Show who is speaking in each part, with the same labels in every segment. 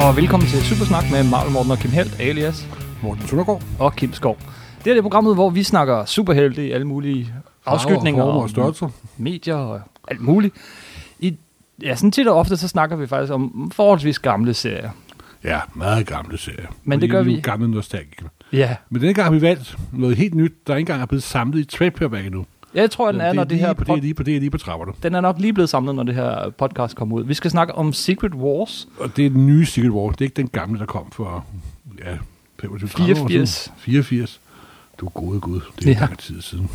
Speaker 1: og velkommen til Supersnak med Marvel Morten og Kim Helt, alias
Speaker 2: Morten Søndergaard.
Speaker 1: og Kim Skov. Det er det programmet, hvor vi snakker superhelte i alle mulige afskytninger
Speaker 2: Farver, former og
Speaker 1: og
Speaker 2: størrelser.
Speaker 1: medier og alt muligt. I, ja, sådan tit og ofte, så snakker vi faktisk om forholdsvis gamle serier.
Speaker 2: Ja, meget gamle serier.
Speaker 1: Men det
Speaker 2: Fordi
Speaker 1: gør
Speaker 2: er jo
Speaker 1: vi-
Speaker 2: Gamle nostalgikere.
Speaker 1: Ja,
Speaker 2: Men denne gang har vi valgt noget helt nyt, der ikke engang er blevet samlet i trade-paperback endnu.
Speaker 1: jeg tror, den er, når det
Speaker 2: lige
Speaker 1: her
Speaker 2: på det, er
Speaker 1: pod-
Speaker 2: lige på det, er lige på trapperne.
Speaker 1: den er nok lige blevet samlet, når det her podcast kommer ud. Vi skal snakke om Secret Wars
Speaker 2: Og det er den nye Secret War. Det er ikke den gamle, der kom for ja, 25 30 år siden.
Speaker 1: 84.
Speaker 2: 84. Du gode gud, det er
Speaker 1: Ja.
Speaker 2: ja. lang tid siden.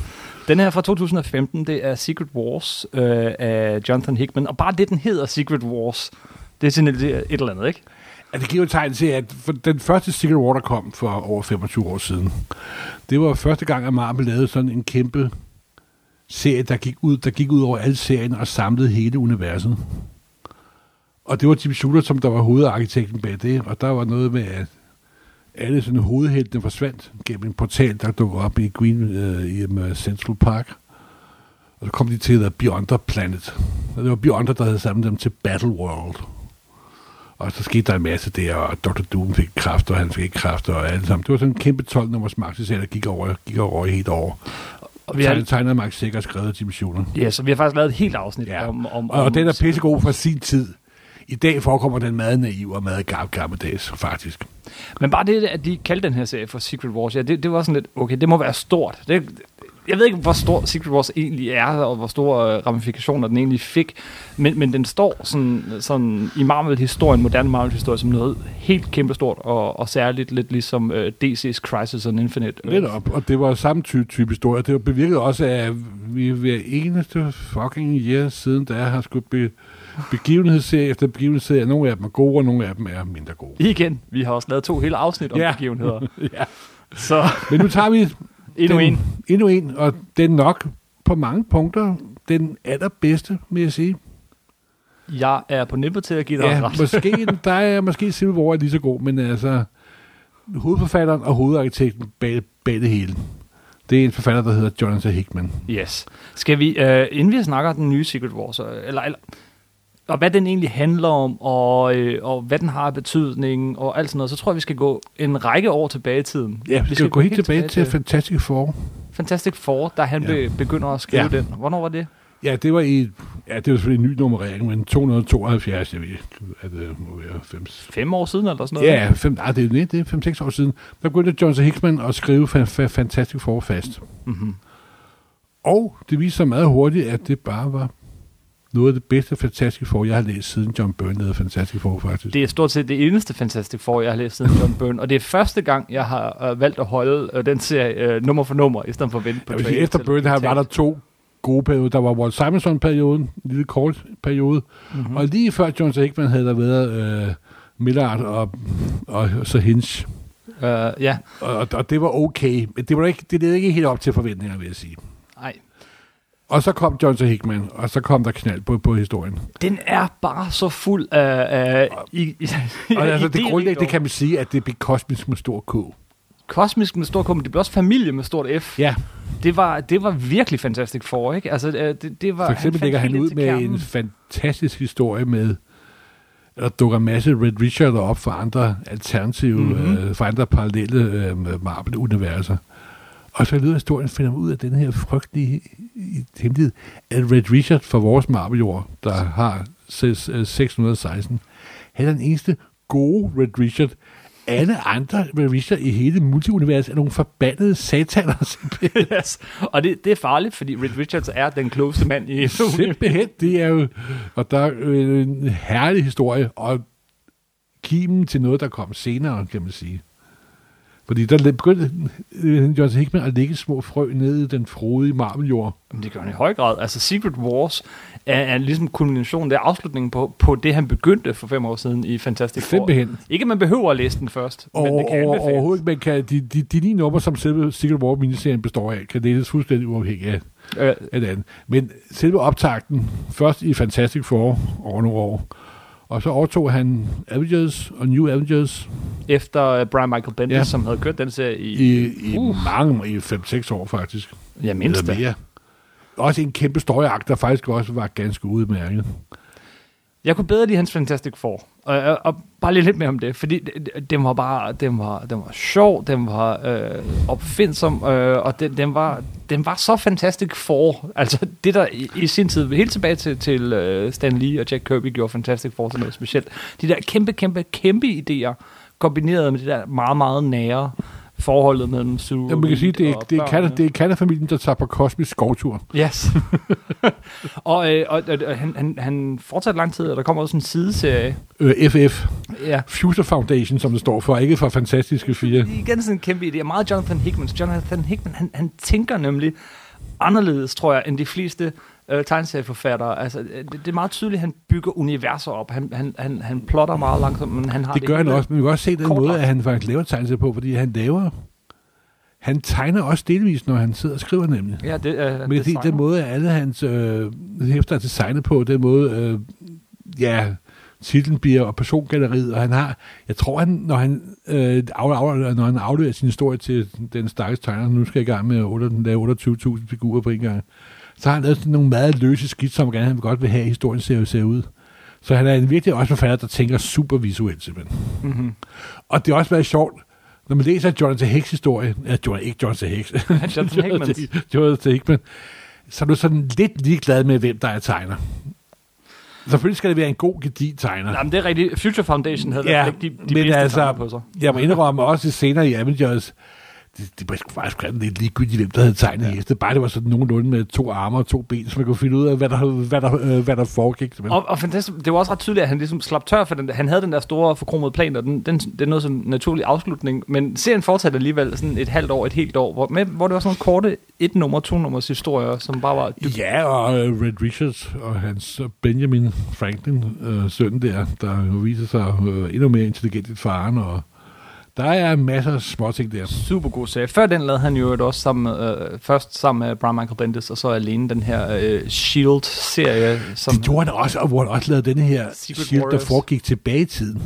Speaker 1: Den her fra 2015, det er Secret Wars øh, af Jonathan Hickman. Og bare det, den hedder Secret Wars, det er sådan et, et eller andet, ikke?
Speaker 2: Ja, det giver jo et tegn til, at for den første Secret War, der kom for over 25 år siden, det var første gang, at Marvel lavede sådan en kæmpe serie, der gik ud, der gik ud over alle serien og samlede hele universet. Og det var Jim Shooter, som der var hovedarkitekten bag det, og der var noget med, at alle sådan hovedheltene forsvandt gennem en portal, der dukkede op i Green øh, i øh, Central Park. Og så kom de til The Beyonder Planet. Og det var Beyonder, der havde samlet dem til Battle World. Og så skete der en masse der, og Dr. Doom fik kræfter, og han fik ikke kræfter, og alt sammen. Det var sådan en kæmpe 12-nummers maxiserie, der gik over, gik over helt over.
Speaker 1: Og vi
Speaker 2: Vi har
Speaker 1: har,
Speaker 2: tegnet Max Sikker og skrevet til missioner.
Speaker 1: ja, så vi har faktisk lavet et helt afsnit
Speaker 2: Ja.
Speaker 1: om, om,
Speaker 2: Og,
Speaker 1: om...
Speaker 2: og den er pissegod fra sin tid. I dag forekommer den meget naiv og meget gab gammeldags, faktisk.
Speaker 1: Men bare det, at de kaldte den her serie for Secret Wars, ja, det, det var sådan lidt, okay, det må være stort. Det, jeg ved ikke, hvor stor Secret Wars egentlig er, og hvor store øh, ramifikationer den egentlig fik, men, men den står sådan, sådan i Marvel-historien, moderne Marvel-historie, som noget helt kæmpestort, og, og særligt lidt ligesom øh, DC's Crisis on Infinite.
Speaker 2: Lidt op, og det var samme ty- type historie. Det var bevirket også af, at vi hver eneste fucking year siden, der har skulle be- begivenhedsserie efter begivenhedsserie. Nogle af dem er gode, og nogle af dem er mindre gode.
Speaker 1: Øh, Igen, vi har også lavet to hele afsnit om
Speaker 2: Ja.
Speaker 1: begivenheder.
Speaker 2: ja.
Speaker 1: Så
Speaker 2: Men nu tager vi
Speaker 1: endnu
Speaker 2: den,
Speaker 1: en.
Speaker 2: Endnu en, og den nok på mange punkter den allerbedste, vil jeg sige.
Speaker 1: Jeg er på nippet til at give dig
Speaker 2: Ja,
Speaker 1: ret.
Speaker 2: måske, der er måske Civil War er lige så god, men altså hovedforfatteren og hovedarkitekten bag, bag det hele. Det er en forfatter, der hedder Jonathan Hickman.
Speaker 1: Yes. Skal vi, øh, inden vi snakker om den nye Secret Wars, øh, eller, eller, og hvad den egentlig handler om, og, øh, og hvad den har af betydning, og alt sådan noget, så tror jeg, vi skal gå en række år tilbage i tiden.
Speaker 2: Ja, vi skal, skal gå helt tilbage, til Fantastic Four.
Speaker 1: Fantastic Four, da han
Speaker 2: Ja.
Speaker 1: ja. begynder at skrive ja.
Speaker 2: Ja.
Speaker 1: den. Hvornår var det?
Speaker 2: Ja, det var i, ja, det var selvfølgelig en ny nummerering, men 272, jeg ved ikke, at det må være 5,
Speaker 1: Fem år siden, eller sådan noget?
Speaker 2: Ja, fem, nej, det, er, nej, det er fem-seks år siden. Der begyndte Johnson Hickman at skrive fa- fa- Fantastic Four fast.
Speaker 1: Mhm.
Speaker 2: Og det viste sig meget hurtigt, at det bare var noget af det bedste Fantastic Four, jeg har læst siden John Byrne lavede Fantastic Four, faktisk. Det.
Speaker 1: Det er stort set det eneste Fantastic Four, jeg har læst siden John Byrne, og det er første gang, jeg har øh, valgt at holde øh, den serie øh, nummer for nummer, i stedet for at vente på
Speaker 2: Jeg vil sige,
Speaker 1: trailer
Speaker 2: efter
Speaker 1: til-
Speaker 2: Byrne her var der to gode perioder. Der var Walt Simonson-perioden, en lille kort periode,
Speaker 1: Mhm.
Speaker 2: mm. og lige før Johnson Hickman havde der været øh, Millard og, og, og så Hinch.
Speaker 1: Øh, ja,
Speaker 2: Og, og, det var okay, men det, var ikke, det levede ikke helt op til forventninger, vil jeg sige.
Speaker 1: nej.
Speaker 2: Og så kom Johnson Hickman, og så kom der knald på, på historien.
Speaker 1: Den er bare så fuld af... af i, i,
Speaker 2: Og altså, det
Speaker 1: idéer.
Speaker 2: grundlæggende kan man sige, at det blev kosmisk med stor K.
Speaker 1: Kosmisk med stor K, men det blev også familie med stort F.
Speaker 2: Ja,
Speaker 1: Det var, det var virkelig fantastisk for, ikke? Altså, øh, det, det var,
Speaker 2: for eksempel
Speaker 1: fandt
Speaker 2: lægger han
Speaker 1: helt
Speaker 2: ud
Speaker 1: til
Speaker 2: med
Speaker 1: kernen.
Speaker 2: en fantastisk historie med, der dukker en masse Red Richard op for andre alternative,
Speaker 1: Mhm.
Speaker 2: mm-hmm. øh, for andre parallelle øh, Marvel-universer. Og så lyder historien, finder man ud af den her frygtelige i- hemmelighed, at Red Richard fra vores Marvel-jord, der har ses- øh, 616, han er den eneste gode Red Richard. Alle andre Red Richard i hele multiuniverset er nogle forbandede sataner, simpelthen.
Speaker 1: yes. Og det, det er farligt, fordi Red Richards er den klogeste mand i...
Speaker 2: Simpelthen, det er jo... Og der er jo en herlig historie, og kimen til noget, der kom senere, kan man sige. Fordi der begyndte øh, Johnson Hickman at lægge små frø nede i den frodige marmeljord.
Speaker 1: Jamen, det gør han i høj grad. Altså, Secret Wars er, er ligesom kulminationen, det er afslutningen på, på det, han begyndte for fem år siden i Fantastic Four.
Speaker 2: Simpelthen.
Speaker 1: Ikke, at man behøver at læse den først,
Speaker 2: Og,
Speaker 1: men det kan
Speaker 2: over,
Speaker 1: anbefales.
Speaker 2: overhovedet ikke, man kan, de, de, de ni numre, som selve Secret War miniserien består af, kan deles fuldstændig uafhængigt af,
Speaker 1: Øh,
Speaker 2: af det andet. Men selve optakten, først i Fantastic Four over nogle år, og så overtog han Avengers og New Avengers,
Speaker 1: efter øh, Brian Michael Bendis,
Speaker 2: Ja.
Speaker 1: som havde kørt den serie i,
Speaker 2: i, i
Speaker 1: Uh.
Speaker 2: uh. mange, i 5-6 år faktisk.
Speaker 1: ja, mindst da.
Speaker 2: Eller mere. Også en kæmpe støjagt, der faktisk også var ganske udmærket.
Speaker 1: Jeg kunne bedre lide hans Fantastic Four. Og, og bare lige lidt mere om det, fordi det- den var bare, den var, den var sjov, den var øh, opfindsom, øh, og den, den, var, den var så fantastisk for, altså det der i, i sin tid, helt tilbage til, til øh, Stan Lee og Jack Kirby gjorde Fantastic Four til noget specielt. De der kæmpe, kæmpe, kæmpe idéer, kombineret med det der meget, meget nære forholdet mellem Sue
Speaker 2: Ja, man kan sige, det er, det, er Canada, det er Canada-familien, der tager på kosmisk skovtur.
Speaker 1: Yes. og øh, og, og, og han, han, han fortsatte lang tid, og der kommer også en sideserie.
Speaker 2: Øh, FF,
Speaker 1: Ja.
Speaker 2: Future Foundation, som det står for, ikke for Fantastiske Fire.
Speaker 1: Det er igen sådan en kæmpe idé. og Meget Jonathan Hickman. Jonathan Hickman, han, han tænker nemlig anderledes, tror jeg, end de fleste øh, tegneserieforfattere. Altså, øh, det, det er meget tydeligt, at han bygger universer op. Han, han, han, han plotter meget langsomt, men han har
Speaker 2: Det gør han
Speaker 1: hele.
Speaker 2: også, men vi kan også se den
Speaker 1: Kort
Speaker 2: måde,
Speaker 1: langt.
Speaker 2: at han faktisk laver tegnelser på, fordi han laver... Han tegner også delvis, når han sidder og skriver nemlig.
Speaker 1: Ja, det, øh,
Speaker 2: Men det, det, den måde, alle hans øh, hæfter er designet på, den måde, øh, ja, titlen bliver, og persongalleriet, og han har, jeg tror, han, når han, øh, af, af, når han afleverer sin historie til den stakkels tegner, som nu skal i gang med at lave 28.000 figurer på en gang, så har han lavet sådan nogle meget løse skidt, som gerne han godt vil have, at historien ser, ser ud. Så han er en virkelig også forfatter, der tænker super visuelt simpelthen.
Speaker 1: Mm-hmm.
Speaker 2: Og det har også været sjovt, når man læser Jonathan Hicks historie, ja, John, ikke Jonathan Hicks,
Speaker 1: Jonathan Hickman.
Speaker 2: Jonathan Hickman, så er du sådan lidt ligeglad med, hvem der er tegner. Selvfølgelig skal det være en god, gedigen tegner.
Speaker 1: Nej, men det er rigtigt. Future Foundation havde
Speaker 2: Ja,
Speaker 1: ja, de, de
Speaker 2: men
Speaker 1: bedste
Speaker 2: altså-
Speaker 1: altså, på sig.
Speaker 2: Jeg må indrømme også senere i Avengers, det, det var sgu faktisk sådan lidt ligegyldigt, hvem der havde tegnet ja. heste. Bare det var sådan nogenlunde med to arme og to ben, så man kunne finde ud af, hvad der, hvad der, øh, hvad der foregik. Men,
Speaker 1: Og, og fantastisk, det var også ret tydeligt, at han ligesom slap tør for den. der- Han havde den der store forkromede plan, og den, den, det er noget som en naturlig afslutning. Men serien fortsatte alligevel sådan et halvt år, et helt år, hvor, med, hvor det var sådan nogle korte et-nummer, to-nummers historier, som bare var... Dybt.
Speaker 2: Ja, og øh, Red Richards og hans øh, Benjamin Franklin, øh, søn der, der jo viser sig øh, endnu mere intelligent end faren, og der er masser af småting der.
Speaker 1: Super god serie. Før den lavede han jo et også sammen med, øh, først sammen med Brian Michael Bendis, og så alene den her øh, S.H.I.E.L.D.-serie, som...
Speaker 2: Det gjorde han også, og hvor han også lavede den her
Speaker 1: Secret
Speaker 2: shield, der
Speaker 1: Warriors.
Speaker 2: foregik tilbage i tiden.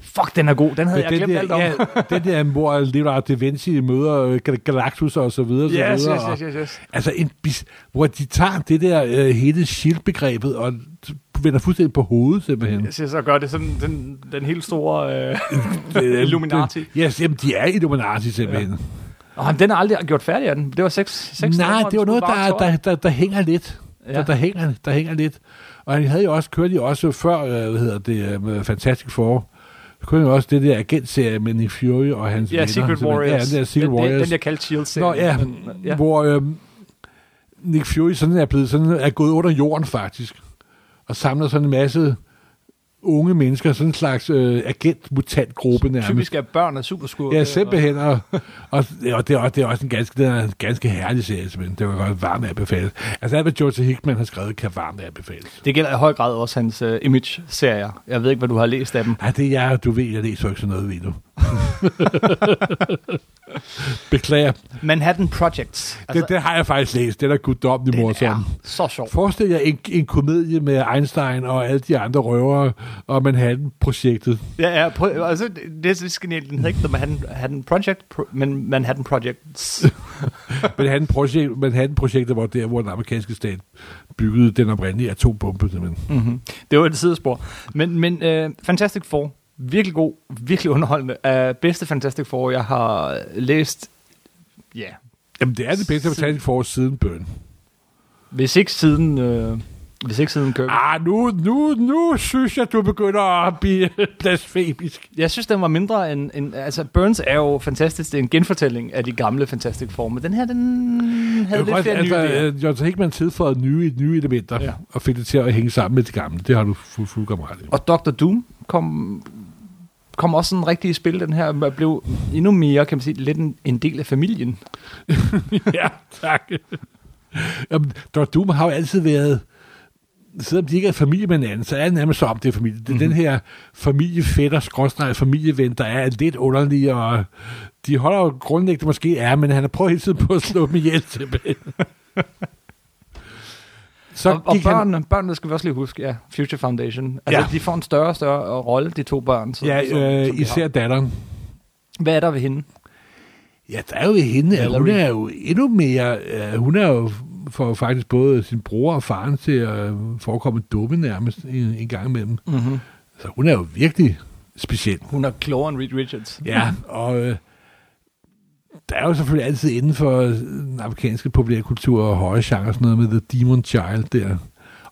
Speaker 1: Fuck, den er god. Den havde jeg
Speaker 2: den,
Speaker 1: glemt alt
Speaker 2: der,
Speaker 1: om.
Speaker 2: ja, den der, hvor Leonardo da Vinci møder øh, Gal- Galactus og så videre. så
Speaker 1: Yes,
Speaker 2: videre
Speaker 1: yes,
Speaker 2: og-
Speaker 1: yes, yes, yes.
Speaker 2: Altså, en bis, hvor de tager det der øh, hele shield-begrebet og t- vender fuldstændig på hovedet, simpelthen.
Speaker 1: Jeg siger så gør det sådan den, den helt store... Øh...
Speaker 2: Øh,
Speaker 1: Illuminati.
Speaker 2: det- Yes, jamen, de er Illuminati, simpelthen. Ja.
Speaker 1: Og jamen, den er aldrig gjort færdig af den. Det var seks, seks
Speaker 2: Nej,
Speaker 1: numre, den
Speaker 2: det var
Speaker 1: skulle
Speaker 2: noget,
Speaker 1: bare
Speaker 2: der,
Speaker 1: tolv.
Speaker 2: der, der, der hænger lidt. Ja.
Speaker 1: Ja.
Speaker 2: Der, der, hænger, der hænger lidt. Og han havde jo også, kørte jo også før, øh, hvad hedder det, øh, med Fantastic Four, så kørte jo også det der agentserie med Nick Fury og hans
Speaker 1: Ja,
Speaker 2: venner.
Speaker 1: Secret
Speaker 2: simpelthen.
Speaker 1: Warriors.
Speaker 2: Ja, den der Secret
Speaker 1: den, Den,
Speaker 2: Warriors.
Speaker 1: den jeg kaldte shield
Speaker 2: Nå ja,
Speaker 1: Men,
Speaker 2: ja.
Speaker 1: øh, ja.
Speaker 2: hvor øh, Nick Fury sådan er blevet sådan, er gået under jorden faktisk, og samler sådan en masse unge mennesker, sådan en slags øh, agent-mutantgruppe nærmest.
Speaker 1: Typisk er børn er superskurke.
Speaker 2: Ja, simpelthen. Og, og, og det, er også, det er også en ganske, den er en ganske herlig serie, simpelthen. Det var godt varmt anbefales. Altså alt, hvad Joseph Hickman har skrevet, kan varmt anbefales.
Speaker 1: Det gælder i høj grad også hans uh, image-serier. Jeg ved ikke, hvad du har læst af dem.
Speaker 2: Nej, det er jeg, du ved, jeg læser jo ikke sådan noget ved nu. Beklager.
Speaker 1: Manhattan Projects.
Speaker 2: Altså, det, det, har jeg faktisk læst. Det er da guddommelig morsom.
Speaker 1: er så sjovt.
Speaker 2: Forestil jer en, en komedie med Einstein og alle de andre røvere og Manhattan-projektet.
Speaker 1: Ja, ja, prøv, altså, det, det er så genialt. Den hedder ikke The Manhattan, Manhattan Project, pro, men Manhattan Projects.
Speaker 2: Manhattan-projekt- Manhattan-projektet var der, hvor den amerikanske stat byggede den oprindelige atombombe. Simpelthen.
Speaker 1: mm-hmm. Det var et sidespor. Men, men øh, Fantastic Four, virkelig god, virkelig underholdende. Uh, bedste Fantastic Four, jeg har øh, læst, ja, yeah,
Speaker 2: Jamen, det er det bedste Fantastic Four siden Bøn.
Speaker 1: hvis ikke siden... Øh, hvis ikke siden Kirby.
Speaker 2: Ah, nu, nu, nu synes jeg, du begynder at blive blasfemisk.
Speaker 1: Jeg synes, den var mindre end... end altså, Burns er jo fantastisk. Det er en genfortælling af de gamle Fantastic Four, men den her, den havde lidt flere nye idéer.
Speaker 2: nye Jonathan Hickman tilføjede nye, nye elementer ja.
Speaker 1: Ja.
Speaker 2: og fik det til at hænge sammen med det gamle. Det har du fu- fuldkommen ret i.
Speaker 1: Og Dr. Doom kom, kom også sådan rigtig i spil, den her. Man blev endnu mere, kan man sige, lidt en, en del af familien.
Speaker 2: ja, tak. Jamen, Dr. Doom har jo altid været, selvom de ikke er familie med hinanden, så er det nærmest så om det er familie. Det
Speaker 1: Mhm.
Speaker 2: er mm-hmm. den her familiefætter, skråstrej familieven, der er lidt underlig, og de holder jo grundlæggende måske er, men han har prøvet hele tiden på at slå dem ihjel tilbage. så
Speaker 1: og og
Speaker 2: gik han,
Speaker 1: børnene, børnene skal vi også lige huske, ja, Future Foundation. Altså,
Speaker 2: Ja.
Speaker 1: ja. de får en større og større rolle, de to børn. Så,
Speaker 2: ja,
Speaker 1: som- som
Speaker 2: øh,
Speaker 1: de har.
Speaker 2: især datteren.
Speaker 1: Hvad er der ved hende?
Speaker 2: Ja, der er jo ved hende, at hun
Speaker 1: Valerie.
Speaker 2: er jo endnu mere, øh, hun er jo for faktisk både sin bror og faren til at øh, forekomme dumme nærmest en, en gang imellem.
Speaker 1: Mm-hmm.
Speaker 2: Så hun er jo virkelig speciel.
Speaker 1: Hun er klogere end Reed Richards.
Speaker 2: Ja, og øh, der er jo selvfølgelig altid inden for øh, den amerikanske populære kultur og høje genre sådan noget med The Demon Child der.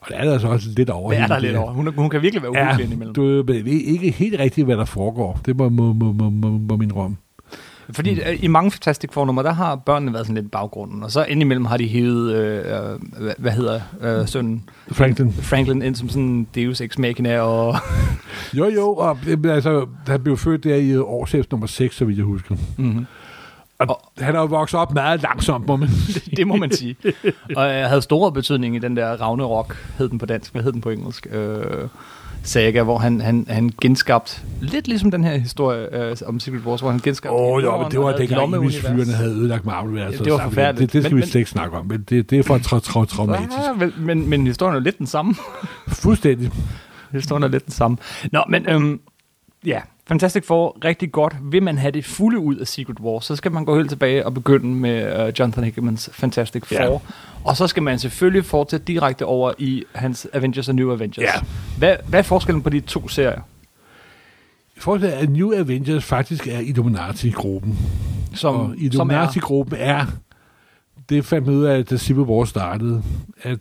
Speaker 2: Og der er der altså også lidt over.
Speaker 1: Hvad er
Speaker 2: hende
Speaker 1: der lidt over? Hun, er- hun kan virkelig være
Speaker 2: Ja,
Speaker 1: uhyggelig ja, indimellem.
Speaker 2: du ved men jeg ved ikke helt rigtigt, hvad der foregår. Det må, må, må, må, må, må min rom. Mm.
Speaker 1: Fordi øh, i mange Fantastic Four-numre, der har børnene været sådan lidt i baggrunden, og så indimellem har de hævet, øh, øh, hvad, hvad hedder øh, sønnen
Speaker 2: Franklin.
Speaker 1: Franklin ind som sådan Deus Ex Machina, og
Speaker 2: Jo, jo, og det, men altså, han blev født der i øh, årsæft nummer 6, så vidt jeg husker.
Speaker 1: Mhm.
Speaker 2: Og,
Speaker 1: Og-
Speaker 2: og han er jo vokset op meget langsomt, må man sige.
Speaker 1: det må man sige. Og øh, havde stor betydning i den der Ragnarok, hed den på dansk, hvad hed den på engelsk? Øh, saga, hvor han, han, han genskabte, lidt ligesom den her historie øh, om Secret Wars, hvor han genskabte
Speaker 2: Åh, oh, jo, men
Speaker 1: jorden
Speaker 2: det var
Speaker 1: og havde et
Speaker 2: dengang
Speaker 1: lommeunivers.
Speaker 2: Emis-fyrene havde ødelagt marvel altså,
Speaker 1: Ja, det var
Speaker 2: så-
Speaker 1: forfærdeligt.
Speaker 2: Det, det skal
Speaker 1: Men-
Speaker 2: vi slet ikke snakke om, men det, det er for tra- tra- traumatisk.
Speaker 1: Ah, vel, men, men historien er jo lidt den samme.
Speaker 2: Fuldstændig.
Speaker 1: Historien er lidt den samme. Nå, men øhm, ja, Fantastic Four, rigtig godt. Vil man have det fulde ud af Secret Wars, så skal man gå helt tilbage og begynde med uh, Jonathan Hickmans Fantastic Four.
Speaker 2: Ja.
Speaker 1: Og så skal man selvfølgelig fortsætte direkte over i hans Avengers og New Avengers.
Speaker 2: Ja.
Speaker 1: Hvad, hvad er forskellen på de to serier?
Speaker 2: Fortsat at New Avengers faktisk er Illuminati-gruppen.
Speaker 1: Som,
Speaker 2: Og
Speaker 1: som er,
Speaker 2: Illuminati-gruppen er, det fandt man ud af, da Civil War startede, at